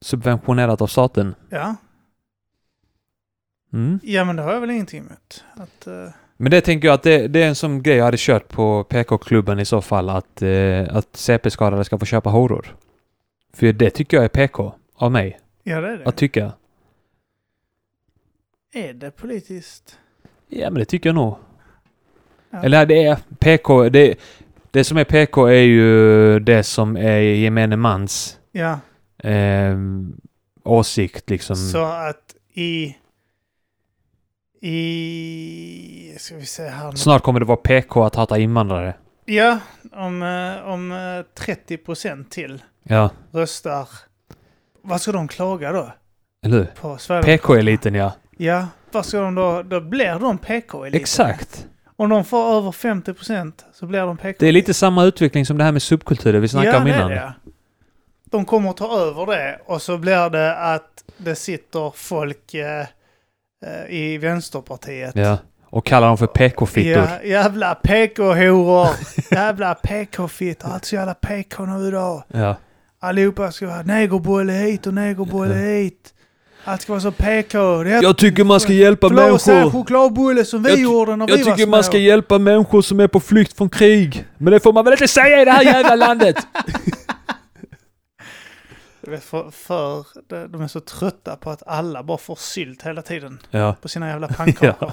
B: subventionerat av staten.
C: Ja.
B: Mm.
C: ja, men det har jag väl ingenting emot. Att, eh,
B: Men det tänker jag att det, det är en sån grej jag hade kört på PK-klubben i så fall, att, eh, att CP-skadade ska få köpa horor. För det tycker jag är PK av mig,
C: ja, det är det.
B: att tycka.
C: Är det politiskt?
B: Ja, men det tycker jag nog.
C: Ja.
B: Eller det är PK, det, det som är PK är ju det som är gemene mans
C: Ja,
B: eh, åsikt liksom.
C: så att i... I... Ska vi se här nu.
B: Snart kommer det vara PK att hata invandrare.
C: Ja, om, eh, om eh, 30 procent till
B: Ja,
C: röstar... Vad ska de klaga då?
B: eller hur?
C: På Sverigedemokraterna?
B: PK-eliten ja.
C: Ja, vad ska de då? Då blir de PK-eliten.
B: Exakt.
C: Om de får över 50 procent så blir de PK.
B: Det är lite samma utveckling som det här med subkulturer vi snackade om innan.
C: Det är det. De kommer att ta över det och så blir det att det sitter folk eh, eh, i Vänsterpartiet.
B: Ja. Och kallar dem för PK-fittor.
C: Ja, jävla PK-horor! jävla PK-fittor! Allt så jävla PK nu då!
B: Ja.
C: Allihopa ska vara negerbolle hit och negerbolle hit! Allt ska vara så PK! Det är
B: Jag tycker man ska hjälpa
C: Blås säga
B: människor.
C: chokladbulle som vi
B: Jag ty-
C: gjorde när vi
B: Jag
C: var
B: tycker man
C: små.
B: ska hjälpa människor som är på flykt från krig. Men det får man väl inte säga i det här jävla landet!
C: Du vet, För, för de- de är så trötta på att alla bara får sylt hela tiden
B: Ja.
C: på sina jävla pannkakor.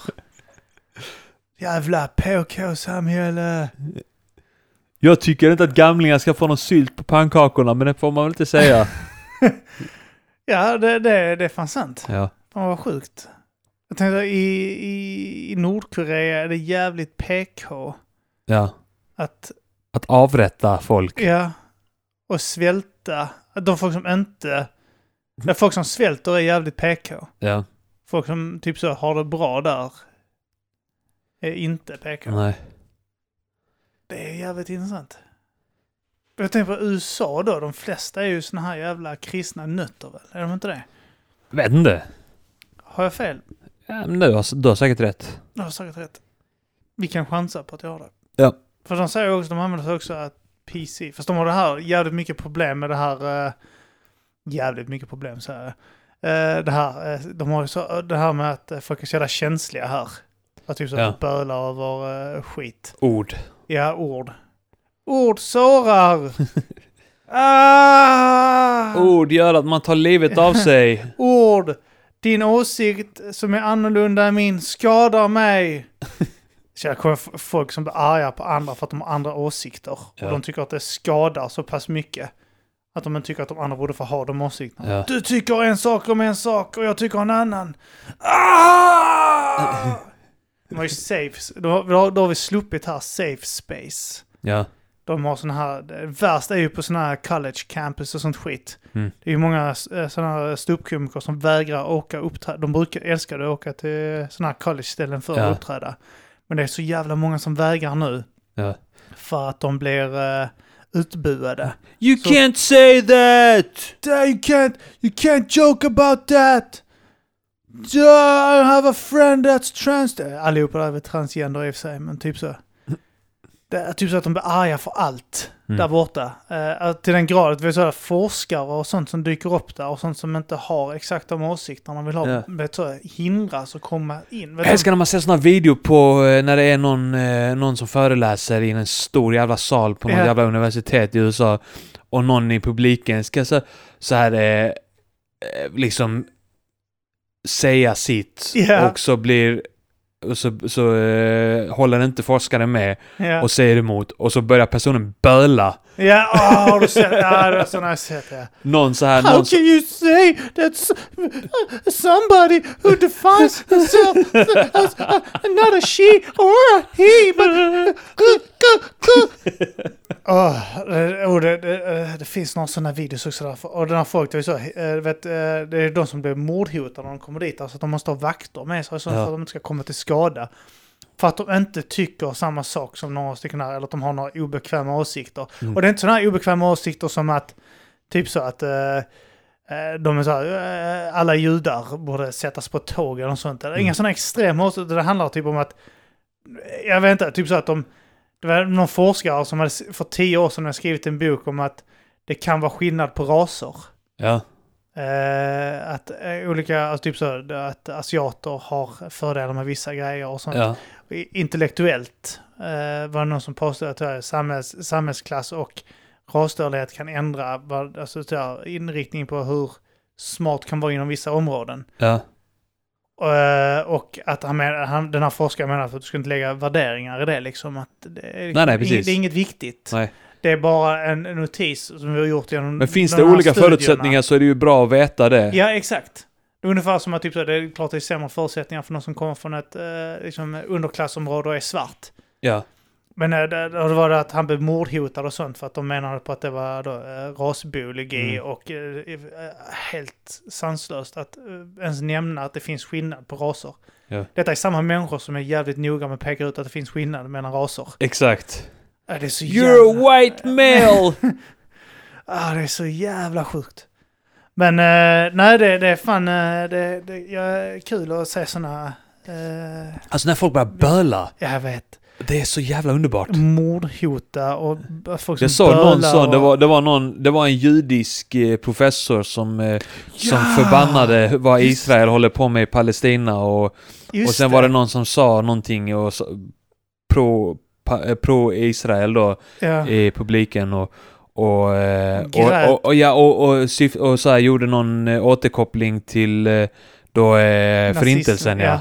C: Jävla PK-samhälle!
B: Jag tycker inte att gamlingar ska få någon sylt på pannkakorna, men det får man väl inte säga.
C: Ja, det, det, det är fan sant.
B: Ja.
C: Fan vad sjukt. Jag tänkte i, i, i Nordkorea är det jävligt PK
B: ja.
C: att,
B: Att avrätta folk.
C: ja, och svälta. Att De folk som inte, de folk som svälter är jävligt PK.
B: Ja.
C: Folk som typ så har det bra där är inte PK.
B: Nej.
C: Det är jävligt intressant. Jag tänker på USA då, de flesta är ju såna här jävla kristna nötter väl? Är de inte det?
B: Vet inte.
C: Har jag fel?
B: Ja, men du har, du har säkert rätt.
C: Jag har säkert rätt. Vi kan chansa på att jag har det.
B: Ja.
C: För de säger också, de använder sig också att PC, fast de har det här jävligt mycket problem med det här, eh, jävligt mycket problem så här. Eh, det här, eh, de har ju så, det här med att eh, folk är så jävla känsliga här. Att typ så
B: Ja.
C: ja. bölar över eh, skit.
B: Ord.
C: Ja, ord. Ord sårar! ah!
B: Ord gör att man tar livet av sig.
C: Ord. Din åsikt som är annorlunda än min skadar mig. Så jag kommer f- folk som blir arga på andra för att de har andra åsikter.
B: Ja.
C: Och de tycker att det skadar så pass mycket. Att de inte tycker att de andra borde få ha de åsikterna.
B: Ja.
C: Du tycker en sak om en sak och jag tycker en annan. Ah! De har ju safe, då, har- då har vi sluppit här safe space.
B: Ja.
C: De har sådana här, det värsta är ju på sådana här college campus och sånt skit.
B: Mm.
C: Det är ju många sådana här ståuppkomiker som vägrar åka uppträda. De brukar, älskade att åka till sådana här college-ställen för
B: Ja.
C: att uppträda. Men det är så jävla många som vägrar nu.
B: Ja.
C: För att de blir eh, utbuade.
B: You
C: Så-
B: can't say that!
C: You can't, you can't joke about that! eh, I have a friend that's trans... Allihopa där är väl transgender i och för sig, men typ så. Det är typ så att de blir arga för allt
B: Mm.
C: där borta. Eh, att till den grad att vi har sådana forskare och sånt som dyker upp där och sånt som inte har exakt de åsikter man vill ha.
B: Ja.
C: Vet så, hindras att komma in. Vet
B: Jag
C: du-
B: älskar när man ser såna videor på eh, när det är någon, eh, någon som föreläser i en stor jävla sal på något
C: Ja.
B: jävla universitet i USA och någon i publiken ska så, så här eh, eh, liksom säga sitt
C: Ja.
B: och så blir och så, så eh, håller inte forskaren med
C: ja.
B: och säger emot och så börjar personen böla.
C: Ja, åh, har du sett? Ja, det är sådana jag har sett. Ja.
B: Någon så här,
C: How
B: någon som,
C: can you say that s- uh, somebody who defines himself as a- not a she or a he, but... uh, Åh, eh, och det, det, eh, det finns några sådana videos också där. Och den här folk, det är, så, eh, vet, eh, det är de som blir mordhotade när de kommer dit. Alltså att de måste ha vakter med sig så
B: Ja.
C: för att de inte ska komma till skada. För att de inte tycker samma sak som några stycken här, eller att de har några obekväma åsikter.
B: Mm.
C: Och det är inte sådana här obekväma åsikter som att, typ så att, eh, eh, de är så här, eh, alla judar borde sättas på tåg eller något sånt. Inga
B: Mm.
C: sådana extrema åsikter, det handlar typ om att, jag vet inte, typ så att de, det var någon forskare som hade, s- för tio år sedan hade skrivit en bok om att det kan vara skillnad på raser.
B: ja,
C: Eh, att eh, olika, alltså typ så, här, att asiater har fördelar med vissa grejer och sånt
B: ja,
C: intellektuellt eh, var det någon som påstod att eh, samhälls, samhällsklass och rasstörlighet kan ändra vad, alltså, så här, inriktning på hur smart kan vara inom vissa områden.
B: ja,
C: Eh, och att han men, han, den här forskaren menar att du ska inte lägga värderingar i det liksom. Att det, är liksom
B: Nej, nej,
C: inget,
B: precis.
C: det är inget viktigt.
B: nej.
C: Det är bara en en notis som vi har gjort genom
B: Men finns
C: de
B: det
C: här
B: olika
C: studierna.
B: förutsättningar så är det ju bra att veta det.
C: Ja, exakt. Det är ungefär som att typ, så här, det är klart det är sämre förutsättningar för någon som kommer från ett eh, liksom, underklassområde och är svart.
B: Ja,
C: Men eh, det, det var det att han blev mordhotad och sånt för att de menade på att det var då, eh, rasbiologi
B: Mm.
C: och eh, eh, helt sanslöst att eh, ens nämna att det finns skillnad på raser.
B: Ja.
C: Detta är samma människor som är jävligt noga med att peka ut att det finns skillnad mellan raser.
B: exakt.
C: Ah, det är så
B: You're
C: jävla,
B: a white male!
C: ah, det är så jävla sjukt. Men eh, nej, det, det är fan eh, det, det, ja, kul att se såna... Eh,
B: Alltså när folk börjar böla,
C: jag vet.
B: det är så jävla underbart.
C: Mordhota och folk som
B: Jag såg någon
C: bölar
B: sån, det
C: och-
B: var, det var någon, det var en judisk eh, professor som, eh, som
C: Ja!
B: förbannade vad
C: Just-
B: Israel håller på med i Palestina och, och
C: Just
B: sen var det någon som sa någonting och sa- pro, pa, eh, pro Israel då
C: Ja.
B: i publiken och och, eh,
C: Grät.
B: och, och, och, ja, och, och, syf- och så här gjorde någon eh, återkoppling till eh, då eh,
C: Nazism,
B: förintelsen ja.
C: ja.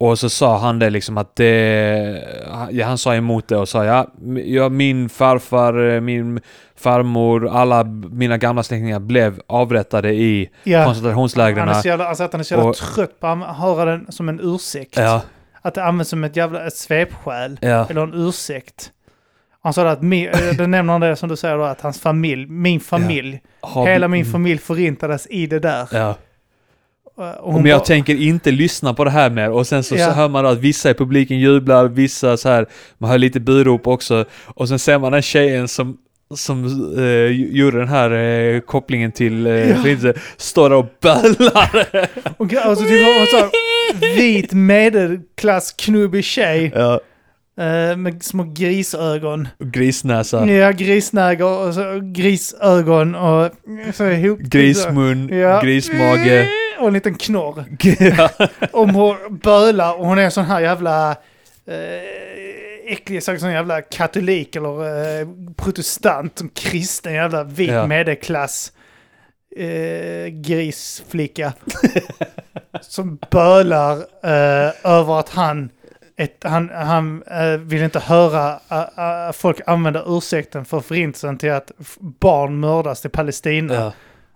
B: Och så sa han det liksom att det, han- ja, han sa emot det och sa ja, m- ja min farfar, eh, min farmor, alla b- mina gamla släktingar blev avrättade i
C: Ja.
B: koncentrationslägren.
C: Han är så jävla, alltså att han är så jävla
B: Och-
C: trött på att an- höra den som en ursäkt.
B: Ja,
C: Att det används som ett jävla ett svepskäl.
B: ja,
C: Eller en ursäkt. Han sa det att, min, eh, det nämner han det som du säger då, att hans familj, min familj,
B: Har- mm.
C: hela min familj förintades i det där.
B: ja.
C: Eh, Och
B: Men jag
C: bara-
B: tänker inte lyssna på det här mer. Och sen så,
C: Ja.
B: så hör man då att vissa i publiken jublar, vissa så här, man hör lite burop också. Och sen ser man den tjejen som, som eh, gjorde den här eh, kopplingen till eh,
C: Ja.
B: förintelsen, står där och bölar.
C: och, och så typ av en sån här vit medelklassknubbig tjej
B: ja.
C: eh, med små grisögon.
B: och Grisnäsa,
C: Ja, grisnägor och så, grisögon och så ihop.
B: grismun,
C: Ja.
B: grismage.
C: Och en liten knorr.
B: ja.
C: Om hon bölar och hon är en sån här jävla eh, äcklig, så- sån jävla katolik eller eh, protestant, som kristen jävla vit
B: Ja.
C: medelklass eh, grisflicka. som bölar eh, över att han, ett, han, han eh, vill inte höra eh, eh, folk använda ursäkten för förintelsen till att f- barn mördas till Palestina.
B: Ja.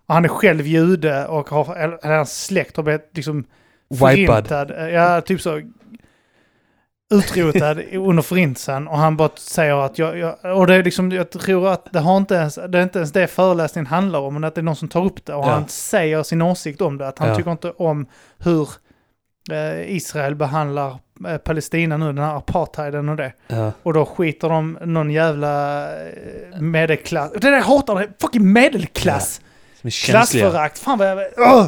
C: Och han är själv jude och har, eller hans släkt har blivit liksom
B: Wipad.
C: förintad. Eh, Ja, typ så utrotad i- under förintelsen och han bara säger att jag, jag och det är liksom, jag tror att det har inte ens, det är inte ens det föreläsningen handlar om, men att det är någon som tar upp det och
B: Ja.
C: han säger sin åsikt om det, att han
B: Ja.
C: tycker inte om hur eh, Israel behandlar eh, Palestina nu, den här apartheiden och det.
B: Ja.
C: Och då skiter de någon jävla eh, medelklass, det där jag hatar, det är fucking medelklass!
B: Som är känsliga.
C: Klassförakt, fan vad jag... Åh!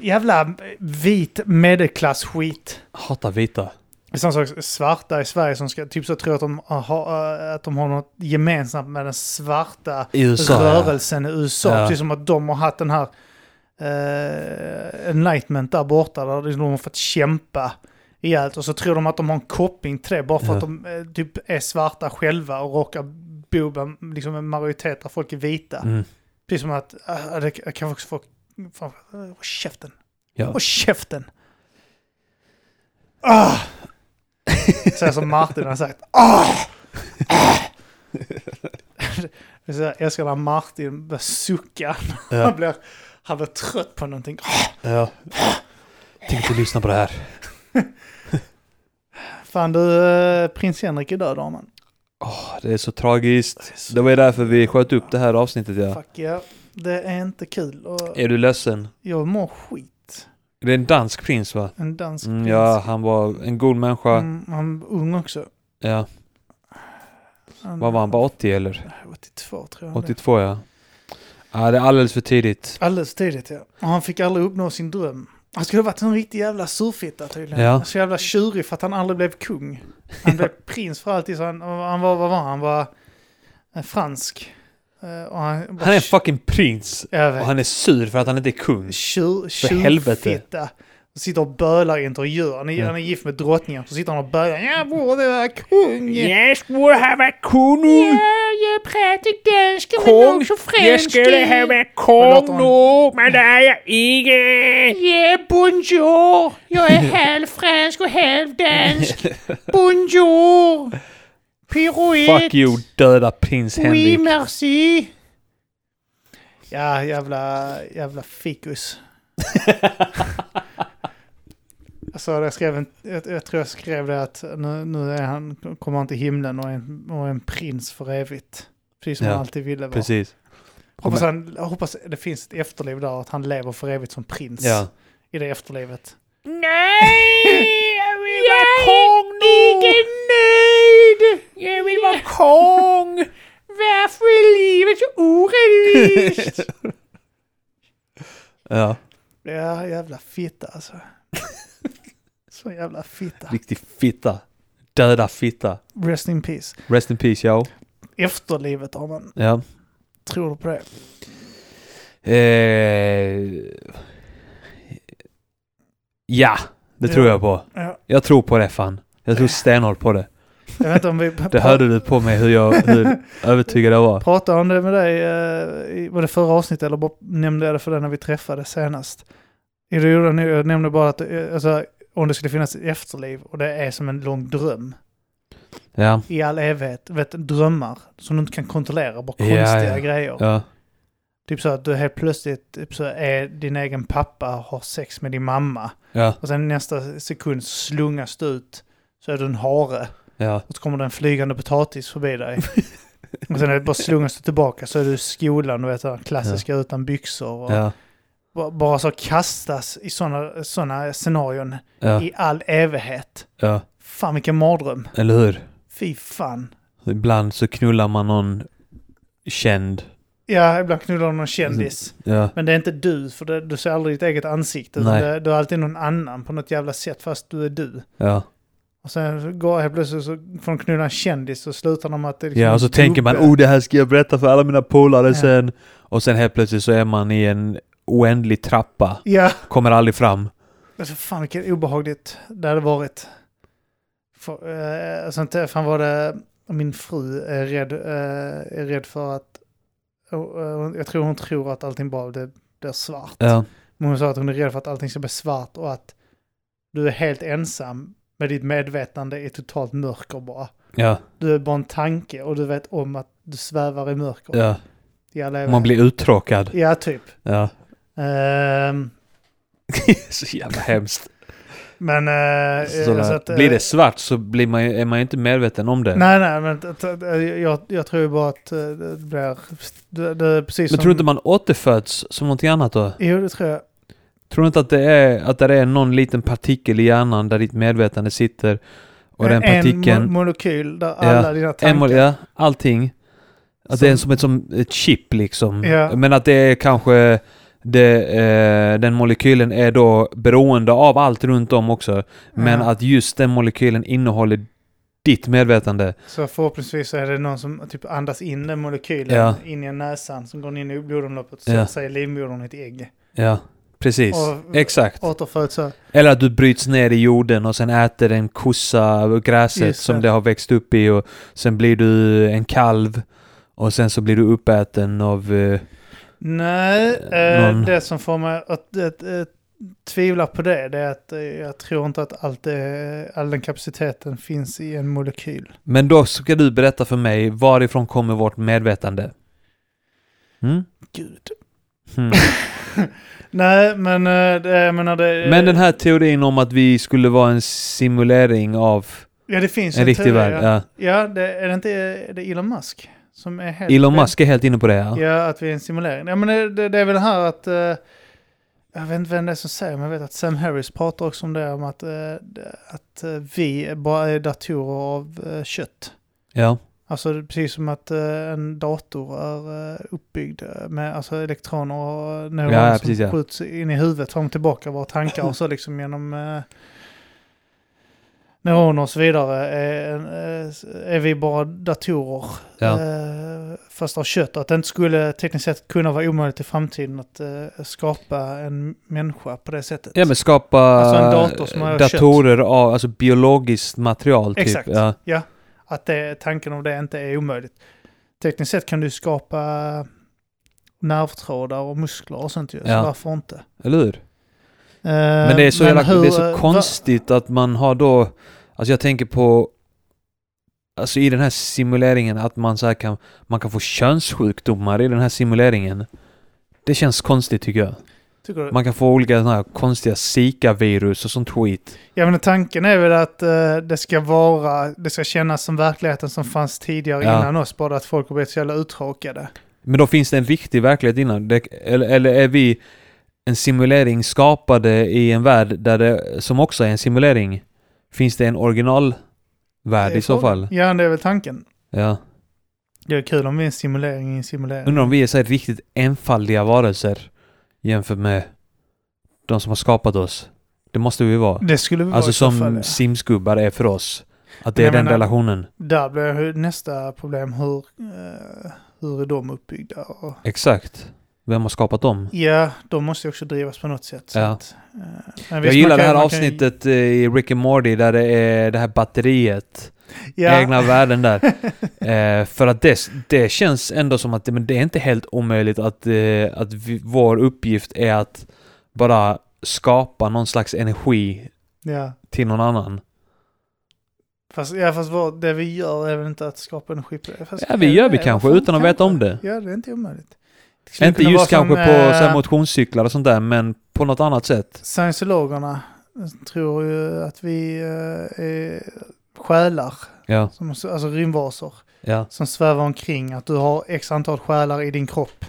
C: Jävla vit medelklassskit.
B: Hatar vita.
C: Det är samma sak, svarta i Sverige som ska, typ så tror jag att de har, att de har något gemensamt med den svarta
B: I USA, ja.
C: rörelsen i USA.
B: Ja.
C: Precis som att de har haft den här eh, enlightenment där borta, där liksom de har fått kämpa ihjäl. Och så tror de att de har en koppling till det, bara för
B: Ja.
C: att de eh, typ är svarta själva och råkar bo bland liksom, en majoritet där folk är vita.
B: Mm.
C: Precis som att, äh, det jag kan också få, fan, håll käften,
B: Ja.
C: håll käften. Ah! Säger som Martin har sagt. Ah! Ah! Det är så här, Jag älskar när Martin börjar sucka. Han,
B: Ja.
C: blir, han blir trött på någonting. Ah,
B: ja. Tänkte lyssna på det här.
C: Fan du, eh, prins Henrik är död Arman.
B: Åh, det är så tragiskt. Det var ju därför vi sköt upp det här avsnittet ja.
C: Fuck yeah. Det är inte kul. Och
B: Är du ledsen?
C: jag mår skit.
B: Det är en dansk prins va?
C: En dansk
B: Mm, ja, han var en god människa.
C: Mm, han var ung också.
B: Ja.
C: Han,
B: Vad var han? Bara 80 eller?
C: 82 tror jag. han blev.
B: 82 ja. Ja, det är alldeles för tidigt.
C: Alldeles tidigt ja. Och han fick aldrig uppnå sin dröm. Han skulle ha varit en riktig jävla surfitta tydligen.
B: Ja.
C: Så jävla tjurig för att han aldrig blev kung. Han blev prins för alltid. Så han, han var, vad var han? Han var eh, fransk. Eh, Och han, var
B: Han är en
C: tj-
B: fucking prins!
C: jag vet,
B: Och han är sur för att han inte är kung.
C: tjur,
B: helvete.
C: tjurfitta. Och sitter och bölar i intervjuer. Han är,
B: Ja.
C: han är gift med drottningen. Så sitter han och bölar. Jag borde vara kung.
B: Jag skulle ha varit konung!
D: jag pratar danska men
B: Kung!
D: också
B: Jag
D: franska.
B: skulle ha varit
C: låter
B: konung! Men det är jag inte!
D: Ja, bonjour! Jag är halvfransk och halvdansk. Bonjour! Pirouette!
B: Fuck you, döda prins
D: Oui,
B: Henrik.
D: merci!
C: Ja, jävla, jävla fikus. alltså, jag, skrev en, jag, jag tror jag skrev det att nu, nu är han, kommer han till himlen och är en, och är en prins för evigt. Precis som
B: Ja,
C: han alltid ville vara.
B: Precis.
C: Hoppas, han, jag hoppas det finns ett efterliv där, att han lever för evigt som prins
B: Ja.
C: i det efterlivet.
D: Nej! Jag vill vara
B: konung!
D: Inte nöjd! Jag vill vara kung! Varför är livet så orättvist?
B: Ja,
C: Ja, jävla fitta alltså. Så jävla fitta.
B: riktig fitta. Döda fitta.
C: Rest in peace.
B: Rest in peace, yo.
C: Efterlivet har man.
B: Ja.
C: Tror du på det?
B: Eh, ja, det tror
C: Ja.
B: jag på.
C: Ja.
B: Jag tror på det fan. Jag tror stenhårt på det.
C: Jag vet inte om vi...
B: Det hörde du på mig hur, jag, hur övertygad jag var.
C: Pratade om det med dig, eh, i- var det förra avsnittet eller bara nämnde jag det för dig när vi träffades senast? Jo, det gjorde jag nu. Jag nämnde bara att eh, alltså, om det skulle finnas ett efterliv och det är som en lång dröm
B: Ja,
C: i all evighet. Du Vet, drömmar som du inte kan kontrollera, bara
B: Ja,
C: konstiga
B: ja.
C: grejer.
B: ja,
C: Typ så att du helt plötsligt typ så är din egen pappa har sex med din mamma
B: ja,
C: och sen nästa sekund slungas du ut så är du en hare.
B: ja.
C: Och så kommer det en flygande potatis förbi dig. och sen är det bara slungas du tillbaka så är du i skolan, du vet den klassiska utan byxor. Och
B: ja,
C: ba- Bara så kastas i sådana såna scenarion
B: ja,
C: i all evighet.
B: ja.
C: Fan vilken mardröm.
B: Eller hur?
C: Fy fan.
B: Ibland så knullar man någon känd.
C: Ja, ibland knullar de någon kändis.
B: Ja,
C: Men det är inte du, för det, du ser aldrig ditt eget ansikte. utan
B: Nej.
C: Det, du är alltid någon annan på något jävla sätt, fast du är du.
B: ja.
C: Och sen så går helt plötsligt så får de knulla en kändis och slutar de att det är liksom
B: Ja, och så
C: en
B: tänker man
C: gubbe.
B: oh det här ska jag berätta för alla mina polare
C: Ja.
B: sen. Och sen helt plötsligt så är man i en oändlig trappa.
C: Ja.
B: Kommer aldrig fram.
C: Alltså fan vilket obehagligt det hade varit. För, eh, sen träffade var det, min fru är rädd, eh, är rädd för att, och, eh, hon- jag tror hon tror att allting bara blir, blir svart.
B: Ja,
C: Men hon sa att hon är rädd för att allting ska bli svart och att du är helt ensam med ditt medvetande i totalt mörker bara.
B: ja,
C: Du är bara en tanke och du vet om att du svävar i mörker.
B: ja.
C: I alla
B: Man blir uttråkad.
C: Ja, typ.
B: Ja.
C: Ehm,
B: så jävla hemskt.
C: men... eh,
B: Sådär.
C: så att, eh,
B: blir det svart så blir man ju, är man ju inte medveten om det.
C: Nej, nej, men t- t- jag, jag tror ju bara att eh, det blir... Det, det är precis
B: Men
C: som...
B: tror du inte man återföds som någonting annat då?
C: Jo, det tror jag.
B: Tror du inte att det är, att det är någon liten partikel i hjärnan där ditt medvetande sitter och den
C: En mo-
B: partikeln...
C: molekyl där alla dina
B: En
C: tankar...
B: mol- ja, allting. Att det är
C: Som-
B: som ett, som ett chip liksom.
C: Ja.
B: Men att det är kanske det, eh, den molekylen är då beroende av allt runt om också. Men
C: Ja.
B: att just den molekylen innehåller ditt medvetande.
C: Så förhoppningsvis så är det någon som typ andas in den molekylen
B: Ja.
C: in i näsan som går in i blodomloppet och
B: Ja.
C: sätter sig i livmodern i ett ägg.
B: Ja, precis.
C: Och-
B: Exakt.
C: Återföds så.
B: Eller att du bryts ner i jorden och sen äter en kossa och gräset
C: Just det.
B: som det har växt upp i och sen blir du en kalv och sen så blir du uppäten av... eh,
C: Nej,
B: Eh,
C: eh,
B: någon-
C: det som får mig att eh, eh, tvivla på det, det är att eh, jag tror inte att allt det, all den kapaciteten finns i en molekyl.
B: Men då ska du berätta för mig varifrån kommer vårt medvetande? Mm?
C: Gud.
B: Mm.
C: Nej, men eh, det, jag menar det...
B: Men den här teorin om att vi skulle vara en simulering av
C: Ja, det finns
B: en riktig
C: teori,
B: värld.
C: Ja,
B: Ja.
C: ja det, är det inte är det Elon Musk som är helt...
B: Elon Musk är helt inne på det. Ja.
C: Ja, att vi är en simulering. Ja, men det, det, det är väl det här att... eh, jag vet inte vem det är som säger, men jag vet att Sam Harris pratar också om det, om att, eh, det- att eh, vi bara är datorer av eh, kött.
B: Ja.
C: Alltså det är precis som att eh, en dator är eh, uppbyggd eh, med alltså, elektroner och
B: Ja,
C: neuroner
B: ja, precis,
C: som
B: ja.
C: skjuts in i huvudet fram och tillbaka våra tankar och så liksom genom eh, neuroner och så vidare. Är, en- eh, är vi bara datorer
B: Ja.
C: eh, fast av kött och att det inte skulle tekniskt sett kunna vara omöjligt i framtiden att eh, skapa en människa på det sättet.
B: ja, men skapa
C: Alltså en dator som har
B: datorer av alltså biologiskt material. Typ.
C: Exakt.
B: Ja.
C: Att det, tanken om det inte är omöjligt. Tekniskt sett kan du skapa nervtrådar och muskler och sånt ju, så
B: Ja.
C: varför inte?
B: Eller hur? Men det är
C: Eh,
B: så, jävla, det är så konstigt att man har då... Alltså jag tänker på... Alltså i den här simuleringen att man så här kan... Man kan få könssjukdomar i den här simuleringen. Det känns konstigt tycker jag.
C: Tycker du?
B: Man kan få olika såna här konstiga zika-virus och sånt skit.
C: Ja men tanken är väl att eh, det ska vara, det ska kännas som verkligheten som fanns tidigare
B: Ja.
C: innan oss, bara att folk har blivit så jävla uttråkade.
B: Men då finns det en riktig verklighet innan. Det, eller, eller är vi en simulering skapade i en värld där det, som också är en simulering? Finns det en originalvärld
C: Det är
B: i så fall?
C: Ja, det är väl tanken.
B: Ja.
C: Det är kul om vi är en simulering i en simulering.
B: Undrar om vi är så här riktigt enfaldiga varelser jämfört med de som har skapat oss. Det måste vi vara.
C: det skulle vi vara
B: Alltså
C: i så fall,
B: som
C: ja.
B: simsgubbar är för oss. Att det
C: Men
B: är
C: jag
B: den
C: menar-
B: relationen.
C: Där blir ju nästa problem hur, eh, hur är de uppbyggda? Och,
B: Exakt. Vem har skapat dem?
C: ja, de måste ju också drivas på något sätt. Så
B: Ja.
C: att, eh, men
B: Jag
C: visst,
B: gillar
C: man
B: det
C: kan-
B: här
C: man kan ju-
B: avsnittet eh, i Rick and Morty där det är det här batteriet.
C: ja,
B: Egna världen där. Eh, för att det, det känns ändå som att det, men det är inte helt omöjligt att, eh, att vi, vår uppgift är att bara skapa någon slags energi
C: ja.
B: till någon annan.
C: Fast, ja, fast vad, det vi gör är väl inte att skapa energi på det. Fast,
B: Ja, vi gör vi
C: ja,
B: kanske
C: Eh, fan,
B: utan att veta om det.
C: Ja, det är inte omöjligt. Det skulle
B: Inte
C: kunna
B: just
C: vara som,
B: kanske på så här
C: eh,
B: motionscyklar och sånt där, men på något annat sätt.
C: Scientologerna tror ju att vi eh, är själar,
B: Ja,
C: som, alltså rymdvarelser,
B: ja,
C: som svävar omkring. Att du har x antal själar i din kropp.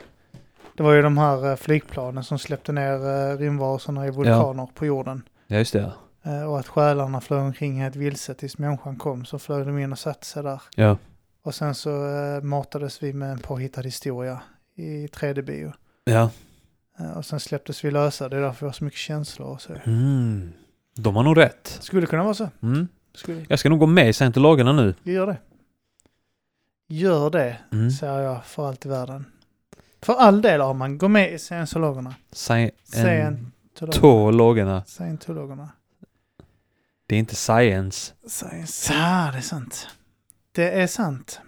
C: Det var ju de här eh, flygplanen som släppte ner eh, rymdvarelserna i vulkaner på jorden.
B: ja just det. ja.
C: Eh, Och att själarna flög omkring helt vilse tills människan kom så flög de in och satte sig där.
B: Ja,
C: Och sen så eh, matades vi med en påhittad historia i 3D-bio.
B: ja.
C: Eh, och sen släpptes vi lösa, det är därför vi har så mycket känslor och så.
B: Mm. De har nog rätt.
C: Skulle kunna vara så.
B: Mm.
C: Skulle.
B: Jag ska nog gå med i scientologerna nu.
C: Gör det. Gör det,
B: Mm.
C: säger jag för allt i världen. För all del har man, gå med i scientologerna.
B: Scientologerna.
C: Scientologerna. Scientologerna.
B: Det är inte science.
C: Science. Ah, det är sant. Det är sant.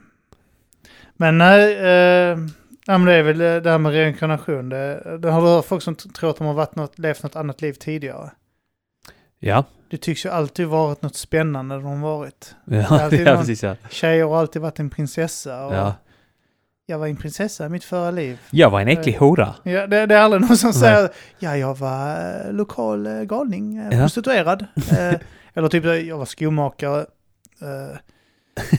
C: Men nej, eh, ja, men det är väl eh, det här med reinkarnation. Det, det har du hört folk som t- tror att de har varit något, levt något annat liv tidigare.
B: Ja,
C: Det tycks ju alltid varit något spännande de har varit.
B: ja,
C: alltid
B: ja
C: någon-
B: precis ja.
C: Tjejer har alltid varit en prinsessa och
B: ja.
C: jag var en prinsessa i mitt förra liv.
B: Jag var en äcklig hora.
C: Ja, det, det är aldrig någon som
B: Nej.
C: säger ja, jag var eh, lokal eh, galning, eh,
B: Ja.
C: prostituerad. Eh, Eller typ jag var skomakare, eh,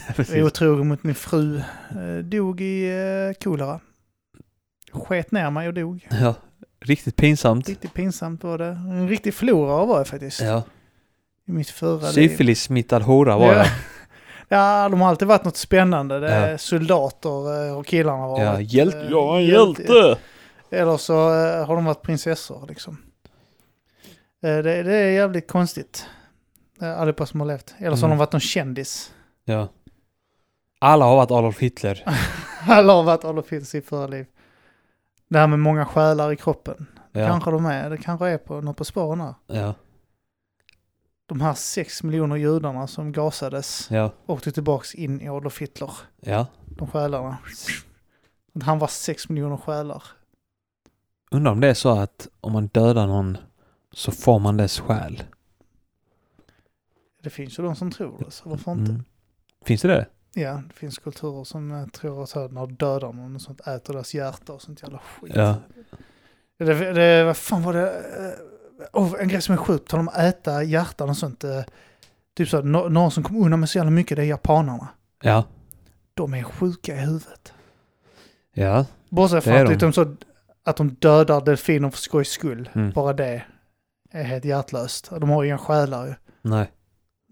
C: var
B: Precis.
C: otrogen mot min fru, eh, dog i eh, kolera. Sket ner mig och dog.
B: Ja. Riktigt pinsamt.
C: Riktigt pinsamt var det. En riktig förlorare var jag faktiskt.
B: Ja.
C: I mitt förra liv.
B: Syfilissmittad hora var jag.
C: Ja, de har alltid varit något spännande. Det är
B: Ja.
C: soldater eh, och killarna har
B: Ja,
C: varit,
B: hjälte.
C: eh,
B: Jag är en hjälte!
C: Eller så eh, har de varit prinsessor liksom. Eh, det, det är jävligt konstigt. Eh, allihopa som har levt. Eller så har
B: Mm.
C: de varit någon kändis.
B: Ja. Alla har varit Adolf Hitler.
C: Alla har varit Adolf Hitler i sitt förra liv. Det här med många själar i kroppen.
B: Ja.
C: Kanske de är, det kanske är på något på spåren här.
B: Ja.
C: De här sex miljoner judarna som gasades
B: Ja.
C: åkte tillbaks in i Adolf Hitler.
B: Ja.
C: De själarna. Att Han var sex miljoner själar.
B: Undrar om det är så att om man dödar någon så får man dess själ.
C: Det finns ju de som tror det, så varför inte?
B: Mm. Finns det det?
C: Ja, det finns kulturer som eh, tror att så när dödar någon och sånt äter deras hjärta och sånt jävla skit.
B: Ja.
C: Det, det, vad fan var det? eh, Oh, en grej som är sjuk, tal om att äta hjärtan och sånt. eh, Typ så, no, någon som kom undan med så jävla mycket, det är japanerna.
B: Ja.
C: De är sjuka i huvudet.
B: Ja.
C: Bortsett
B: Det är
C: från att,
B: de.
C: liksom så, att de dödar delfiner för skojs skull.
B: Mm.
C: Bara det är helt hjärtlöst. De har ju inga själar ju.
B: Nej.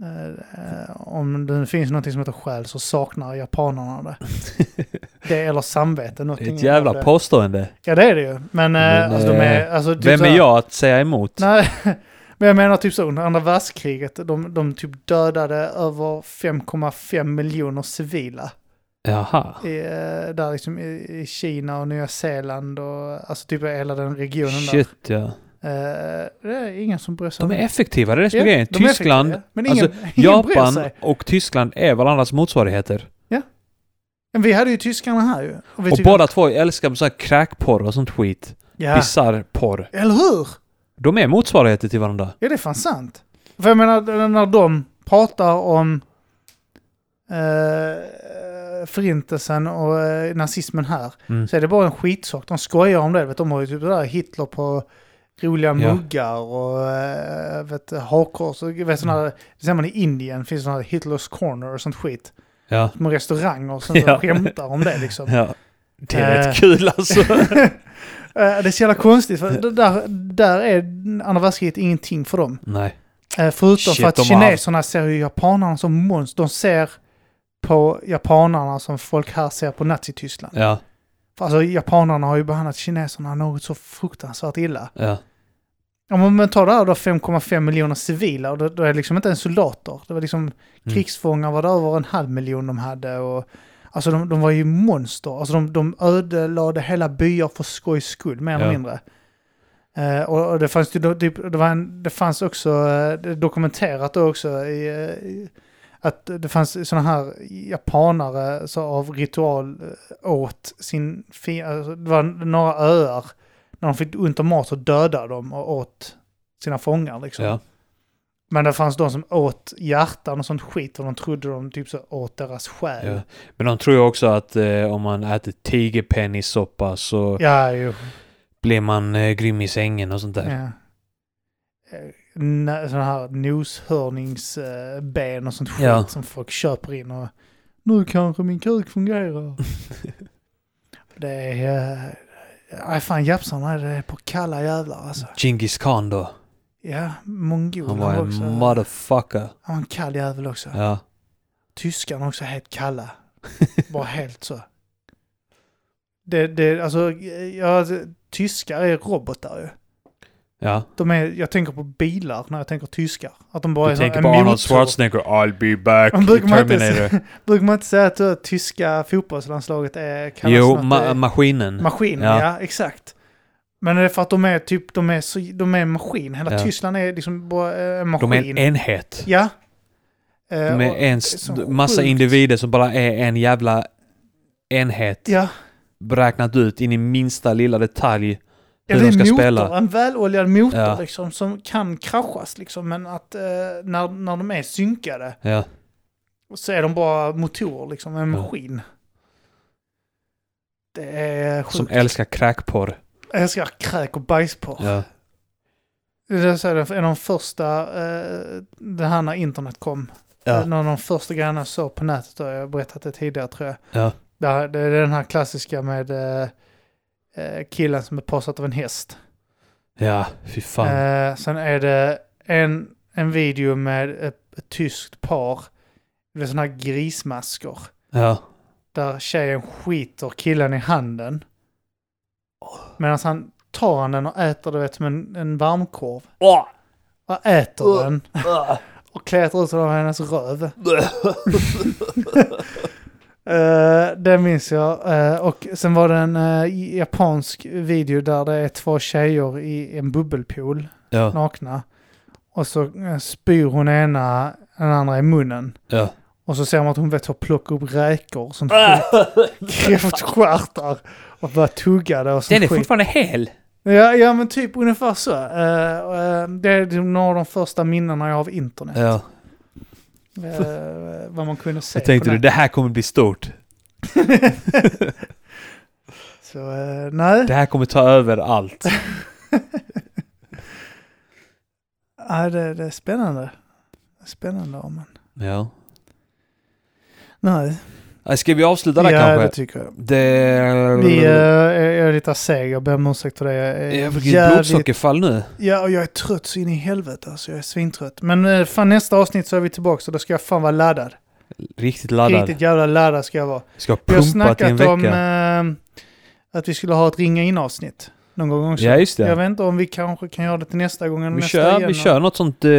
C: Eh, eh, Om det nu finns något som heter själ så saknar japanerna det. det eller samvete.
B: Det är
C: någonting
B: ett
C: av det.
B: jävla påstående.
C: Ja det är det ju. Men, eh,
B: Men,
C: alltså, de är...
B: eh,
C: Alltså, typ
B: Vem
C: så
B: är
C: här-
B: jag att säga emot?
C: Nej, men jag menar typ så under andra världskriget. De, de typ dödade över 5,5 miljoner civila.
B: Jaha.
C: I, eh, där liksom i, i Kina och Nya Zeeland och alltså typ hela den regionen där.
B: Shit ja.
C: Eh, det är ingen som bryr sig.
B: De är effektiva, det är det som
C: Ja,
B: är grejen.
C: de är
B: Tyskland, alltså,
C: effektiva, Men ingen, ingen bryr
B: Japan
C: sig.
B: och Tyskland är varandras motsvarigheter.
C: Men vi hade ju tyskarna här ju. vi
B: Och
C: tyckte-
B: båda två älskar sån här kräkporr och sånt skit.
C: ja.
B: Bisarr porr.
C: Eller hur?
B: De är motsvarigheter till varandra.
C: Ja, det är fan sant. För jag menar, när de pratar om eh, förintelsen och eh, nazismen här,
B: Mm.
C: så är det bara en skitsak. De skojar om det. Vet, de har ju typ det där Hitler på roliga
B: Ja.
C: muggar och eh, vet, hakkors. och, Vet, såna, mm. Det ser man i Indien, finns sådana här Hitlers corner och sånt skit.
B: Ja.
C: Med restauranger och sånt,
B: Ja.
C: ja. skämtar om det liksom.
B: ja. Det är
C: Eh.
B: rätt kul alltså.
C: Eh, det är så jävla konstigt, för det där, där är andra världskriget ingenting för dem.
B: Nej.
C: Eh, Förutom
B: Shit,
C: för att
B: de har-
C: kineserna ser ju japanerna som monster. De ser på japanerna som folk här ser på Nazityskland.
B: Ja.
C: För Alltså japanerna har ju behandlat kineserna något så fruktansvärt illa.
B: Ja.
C: Om man tar det här då 5,5 miljoner civila och då, då är det liksom inte ens soldater. Det var liksom krigsfångar var det över en halv miljon de hade och alltså de, de var ju monster. Alltså de, de ödelade hela byar för skojs skull mer eller
B: Ja.
C: mindre. Eh, och, och det fanns ju då, typ, det, var en, det fanns också eh, det är dokumenterat då också i, eh, i, att det fanns sådana här japanare så av ritual eh, åt sin fi- alltså, det var några öar när de fick ont om mat så dödade de och åt sina fångar liksom.
B: Ja.
C: Men det fanns de som åt hjärtan och sånt skit och de trodde de typ så åt deras själ.
B: Ja. Men de tror ju också att eh, om man äter tigerpennissoppa så
C: Ja, jo.
B: blir man eh, grym i sängen och sånt där.
C: Ja. Sådana här noshörningsben och sånt skit
B: Ja.
C: som folk köper in och nu kanske min kuk fungerar. det är... eh, Nej, fan japsarna det är på kalla jävlar alltså.
B: Genghis khan då.
C: Ja,
B: Han var
C: mongolerna
B: en
C: också.
B: motherfucker.
C: Han var en kall jävel också.
B: Ja.
C: Tyskarna också helt kalla. Bara helt så. Det, det, alltså, ja, tyskar är robotar ju.
B: Ja.
C: De är, jag tänker på bilar när jag tänker tyskar. Att de bara
B: Du
C: är så-
B: tänker
C: en
B: på Arnold
C: motor.
B: Schwarzenegger. I'll be back.
C: Man brukar
B: i
C: man inte se-
B: Terminator.
C: Brukar man inte säga att uh, tyska fotbollslandslaget är kallas
B: Jo,
C: något,
B: ma-
C: eh,
B: maskinen.
C: maskin?
B: ja.
C: Ja. exakt. Men det är för att de är typ, de är, så, de är en maskin. Hela
B: Ja.
C: Tyskland är liksom bara eh, en maskin.
B: de är en enhet.
C: Ja. Eh,
B: Med
C: och-
B: en
C: det är
B: s-
C: så
B: massa
C: sjukt.
B: individer som bara är en jävla enhet.
C: Ja.
B: Beräknat ut in i minsta lilla detalj.
C: Ja,
B: hur
C: det
B: de
C: är
B: ska
C: motor,
B: spela.
C: En väloljad motor
B: Ja.
C: liksom, som kan kraschas liksom, men att eh, när, när de är synkade
B: Ja.
C: så är de bara motorer, liksom, en
B: Ja.
C: maskin. Det är sjukt.
B: Som älskar kräkporr.
C: Jag älskar kräk och bajsporr.
B: Ja.
C: Det är så här, en av de första, eh, det här när internet kom,
B: Ja.
C: en av de första grejerna jag såg på nätet, då, jag har berättat det tidigare tror jag.
B: Ja.
C: Det, här, det är den här klassiska med eh, eh, killen som är påsatt av en häst.
B: Ja, fy fan.
C: Eh, sen är det en, en video med ett, ett tyskt par. Det är sådana här grismasker.
B: Ja.
C: Där tjejen skiter killen i handen. Medan han tar han den och äter det vet, som en, en varmkorv.
B: Åh!
C: Och äter
B: Åh.
C: den
B: Ah.
C: och klätrar ut av hennes röv. Eh, det minns jag. Eh, och sen var det en eh, japansk video där det är två tjejer i en bubbelpool,
B: Ja,
C: nakna. Och så eh, spyr hon ena den andra i munnen.
B: ja. Ah!
C: Och så ser man att hon vet hur att plocka upp räkor och sånt skit. Kräftstjärtar. Och börja tugga det och sånt
B: Den är
C: skit.
B: fortfarande hel.
C: Ja, ja, men typ ungefär så. Eh, och, eh, det är några av de första minnena jag har av internet.
B: Ja.
C: Eh, vad man kunde se
B: Jag tänkte
C: på
B: du, det här kommer bli stort.
C: Så, eh, nej.
B: Det här kommer ta över allt.
C: Ja, det, det är spännande. Spännande om man.
B: Ja.
C: Nej,
B: Äh, Ska vi avsluta
C: ja,
B: där
C: det
B: kanske?
C: tycker jag.
B: Det...
C: Vi, eh, jag är lite seg, jag ber om ursäkt för det. Jag är
B: Jag fick ett
C: jävligt...
B: blodsockerfall nu.
C: Ja, och jag är trött så in i helvete alltså. Jag är svintrött. Men eh, fan nästa avsnitt så är vi tillbaka så då ska jag fan vara laddad.
B: Riktigt laddad.
C: Riktigt jävla laddad ska jag vara.
B: Ska
C: Vi har
B: pumpa till en
C: snackat
B: vecka.
C: om eh, att vi skulle ha ett ringa in avsnitt någon gång också.
B: Ja, just
C: Jag
B: det.
C: vet inte om vi kanske kan göra det till nästa gång. Eller
B: Vi
C: nästa
B: kör,
C: igen.
B: vi kör något sånt eh,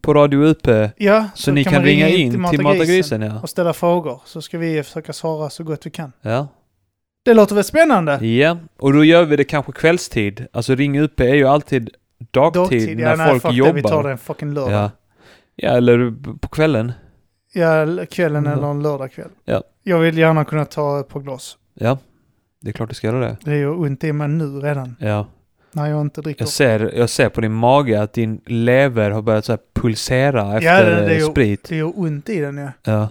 B: på Radio UP.
C: Ja,
B: Så ni kan, ringa in till Mata Grisen, ja.
C: och ställa frågor så ska vi försöka svara så gott vi kan.
B: ja.
C: Det låter väl spännande?
B: Ja, och då gör vi det kanske kvällstid. Alltså Ring UP är ju alltid dagtid, när folk
C: fuck
B: jobbar.
C: Det, vi tar det en fucking lördag. Ja,
B: ja. ja, eller på kvällen.
C: l- kvällen
B: Mm.
C: eller en lördagkväll.
B: Ja.
C: Jag vill gärna kunna ta ett par glas.
B: Ja, det är klart du ska göra det.
C: Det gör ont i mig nu redan
B: Ja.
C: när jag inte dricker.
B: Jag ser, jag ser på din mage att din lever har börjat så här pulsera efter
C: det- det
B: eh,
C: gör-
B: sprit.
C: Det gör ont i den ja.
B: Ja.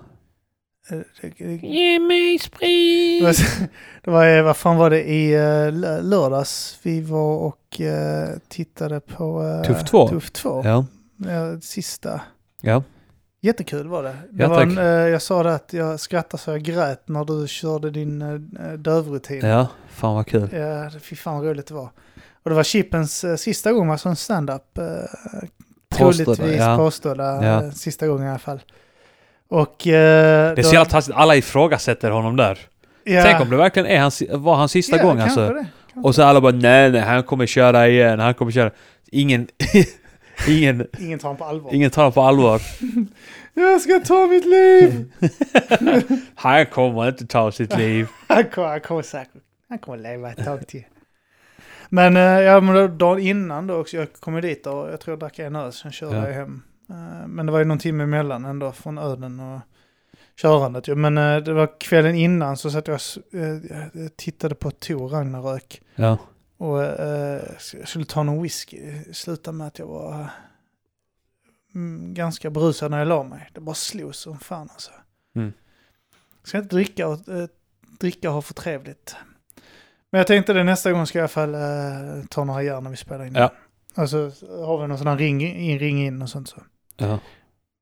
C: Eh, det- det-
B: Mm.
D: Ge mig
C: Det var,
D: sprit!
C: det var, eh, vad fan var det i eh, lö- lördags? Vi var och eh, tittade på eh,
B: Tuff 2.
C: Tuff 2.
B: Ja.
C: Eh, Sista.
B: Ja.
C: Jättekul var det. det
B: Ja,
C: var
B: tack.
C: en, eh, jag sa det att jag skrattade så jag grät när du körde din eh, dövrutin. Ja.
B: ja, fan vad kul.
C: Ja, Eh, fy fan vad roligt det var. Och det var Chippens eh, sista gång, alltså en stand-up. Eh,
B: Påstådda,
C: troligtvis
B: ja.
C: påstådda
B: Ja.
C: eh, sista gången i alla fall. Och... Eh,
B: Det är så jävla taskigt, alla ifrågasätter honom där.
C: ja,
B: Tänk om det verkligen är hans, var hans sista
C: Ja,
B: gång
C: kanske
B: alltså.
C: det.
B: Och så alla bara nej, nej, han kommer köra igen, han kommer köra. Ingen, ingen,
C: Ingen tar honom på allvar.
B: ingen tar honom på allvar.
C: Jag ska ta mitt liv!
B: Han kommer inte ta sitt liv.
C: Han kommer, han kommer säkert, han kommer leva ett tag till. Men eh, ja, men då, dagen innan då också, jag kom ju dit och jag tror jag drack en öl, sen körde
B: Ja.
C: jag hem. Eh, men det var ju någon timme emellan ändå från ölen och körandet ju. Men eh, det var kvällen innan så satt jag och s- eh, jag tittade på Tor Ragnarök.
B: Ja,
C: Och eh, jag skulle ta någon whisky. Sluta med att jag var eh, mm, ganska brusad när jag la mig. Det bara slog som fan alltså.
B: Mm.
C: Ska inte dricka och, eh, dricka och ha för trevligt. Men jag tänkte det nästa gång ska jag i alla fall eh, ta några järn när vi spelar in.
B: Ja.
C: Alltså har vi någon sån här ring in, ring in och sånt så.
B: ja.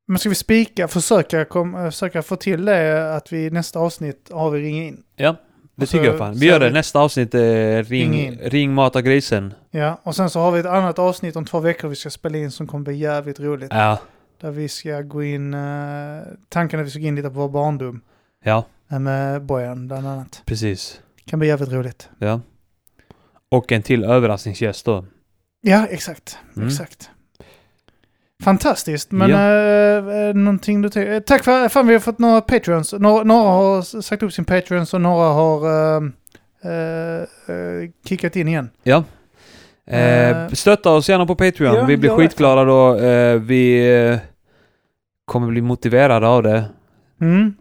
C: Men ska vi spika, försöka, kom, eh, försöka få till det att vi i nästa avsnitt har vi ring in.
B: Det
C: så-
B: tycker jag fan.
C: så
B: Vi gör
C: är
B: det
C: vi-
B: nästa avsnitt, eh,
C: Ring
B: ring,
C: in.
B: ring Mata Grisen.
C: Ja, och sen så har vi ett annat avsnitt om två veckor vi ska spela in som kommer bli jävligt roligt.
B: Ja,
C: Där vi ska gå in, eh, tanken är att vi ska gå in lite på vår barndom.
B: ja,
C: eh, Med Bojan bland annat.
B: precis.
C: Kan bli jävligt roligt.
B: Ja. Och en till överraskningsgäst då.
C: Ja, exakt.
B: Mm.
C: Exakt. Fantastiskt, men
B: Ja.
C: eh, eh, någonting du tänker... eh, Tack för fan vi har fått några patreons. Några, några har s- sagt upp sin patreons och några har eh, eh, eh, kickat in igen. Eh.
B: Eh, stötta oss gärna på Patreon.
C: Ja,
B: vi blir
C: gör det.
B: skitglada då. Eh, vi eh, kommer bli motiverade av det.
C: Mm.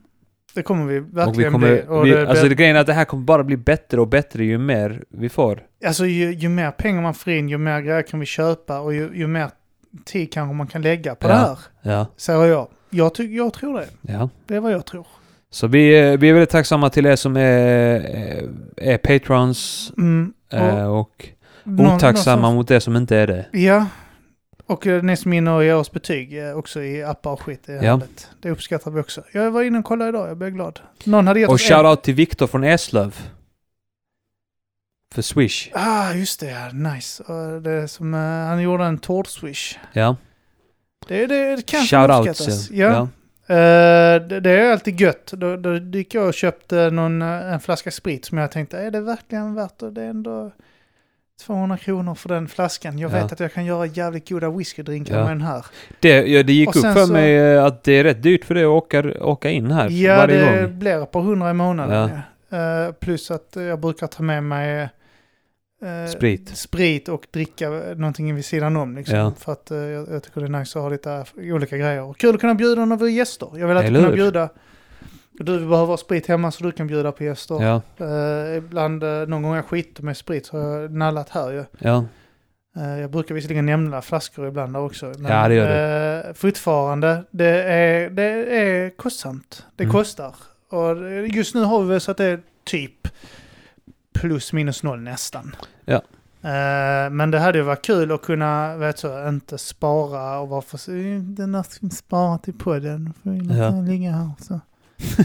C: Det kommer vi verkligen
B: Och vi
C: bli.
B: kommer,
C: Och
B: vi,
C: det,
B: alltså det, grejen är att det här kommer bara bli bättre och bättre ju mer vi får.
C: Alltså ju, ju mer pengar man får in, ju mer grejer kan vi köpa och ju, ju mer tid kanske man kan lägga på
B: Ja.
C: det här.
B: Ja,
C: Säger jag. Jag, ty- jag tror det.
B: ja.
C: Det är vad jag tror.
B: Så vi, eh, vi är väldigt tacksamma till er som är, eh, är patrons
C: Mm. Och
B: eh, och
C: någon-
B: otacksamma
C: någon
B: mot er som inte är det.
C: som- Ja. Och eh, ni som är inne och ger oss betyg eh, också i appar och skit. Det, är
B: Ja.
C: härligt. det uppskattar vi också. Jag var inne och kollade idag, jag blev glad. Någon hade gett
B: Och
C: oss en...
B: shoutout till Viktor från Eslöv. För Swish.
C: Ah, just det. ja. Nice. Och Det är som, eh, han gjorde en tårtswish.
B: Ja.
C: Det, det, det kanske
B: Shoutouts.
C: uppskattas.
B: Ja.
C: Ja.
B: Ja.
C: Eh, det, det är alltid gött. Då, då gick jag och köpte någon, eh, en flaska sprit som jag tänkte, är det verkligen värt det? Det är ändå 200 kronor för den flaskan. Jag
B: Ja.
C: vet att jag kan göra jävligt goda whiskydrinkar
B: Ja.
C: med den här.
B: Det, ja, det gick
C: Och
B: upp
C: sen
B: för
C: så-
B: mig eh, att det är rätt dyrt för dig att åka, åka in här
C: Ja,
B: varje
C: det
B: gång.
C: blir ett par hundra i månaden.
B: Ja.
C: Ja. Eh, plus att eh, jag brukar ta med mig eh,
B: Sprit.
C: sprit och dricka någonting vid sidan om. Liksom,
B: Ja.
C: För att eh, jag, jag tycker det är nice att ha lite olika grejer. Och kul att kunna bjuda när vi är gäster. Jag vill alltid
B: Eller
C: kunna
B: hur?
C: bjuda. Du behöver sprit hemma så du kan bjuda på gäster.
B: Ja,
C: Eh, ibland, eh, någon gång jag skiter med sprit så har jag nallat här ju.
B: ja.
C: Eh, jag brukar visserligen nämna flaskor ibland där också. Men,
B: Ja, det gör
C: eh, fortfarande, det är, det är kostsamt. Det
B: Mm.
C: kostar. Och det- just nu har vi väl så att det är typ plus minus noll nästan.
B: Ja.
C: Eh, men det hade ju varit kul att kunna, vet så, inte spara och vara för... "Eh, Den där ska vi spara till podden. Får vi låta
B: Ja.
C: den ligga här så.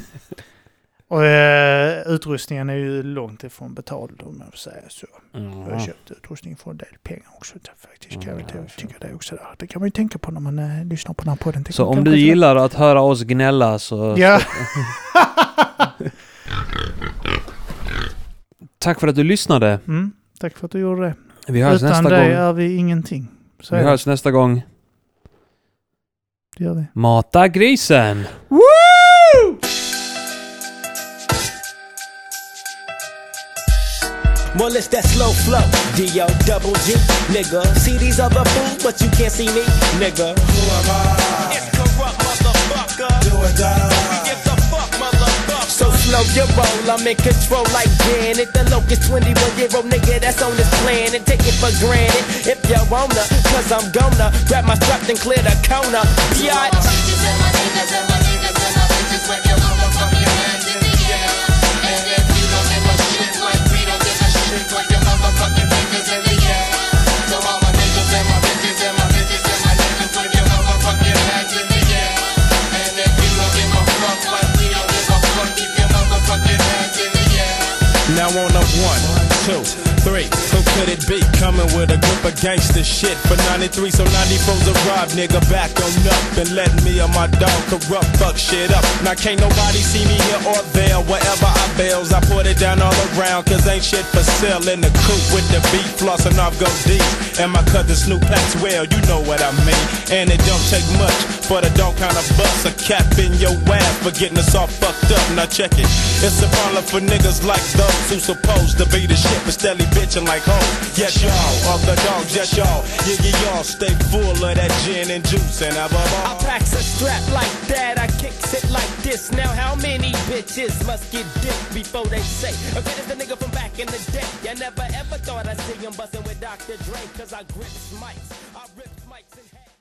C: och eh, utrustningen är ju långt ifrån betald om jag får säga så.
B: Mm.
C: Jag har köpt utrustning för en del pengar också så faktiskt. Kan jag väl tycka det också där. Det kan man ju tänka på när man eh, lyssnar på den här podden. Tänker
B: Så
C: man
B: om
C: kanske
B: du
C: inte-
B: gillar att höra oss gnälla så
C: Ja,
B: tack för att du lyssnade.
C: mm, tack för att du gjorde det.
B: Vi hörs
C: Utan
B: nästa
C: dig alltså.
B: gång.
C: är vi ingenting. Så
B: Vi
C: är det.
B: hörs nästa gång.
C: det gör vi.
B: Mata grisen!
D: Woo!
E: Well, it's that slow flow, D-O double G, nigga. See these other fools, but you can't see me, nigga. Who am I? It's corrupt, motherfucker. Do or die. We give the fuck, motherfucker. So slow your roll, I'm in control like Janet. The locust 21 year old nigga that's on this planet. Take it for granted if you wanna, cause I'm gonna grab my strap and clear the corner. Biatch.
F: Now on a one, two, three. Who could it be? Coming with a group of gangster shit for 93, so 94's a rob, nigga. Back on up and let me and my dog corrupt fuck shit up. Now can't nobody see me here or there. Wherever I bails, I put it down all around, cause ain't shit for sale. In the coop with the beat, flossing off go deep. And my cousin Snoop packs well, you know what I mean. And it don't take much for the don't kind of bust a cap in your ass for getting us all fucked up. Now check it. It's a problem for niggas like those who supposed to be the shit, but steadily bitching like hoes. Yes, y'all. Of the dogs, yes, y'all. Yeah, yeah, y'all. Stay full of that gin and juice and have a
E: I packs a strap like that, I kicks it like this. Now, how many bitches must get dick before they say, if it is the nigga from back in the day? I never ever thought I'd see him bustin' with Dr. Dre, cause I grips mics, I rips mics in half.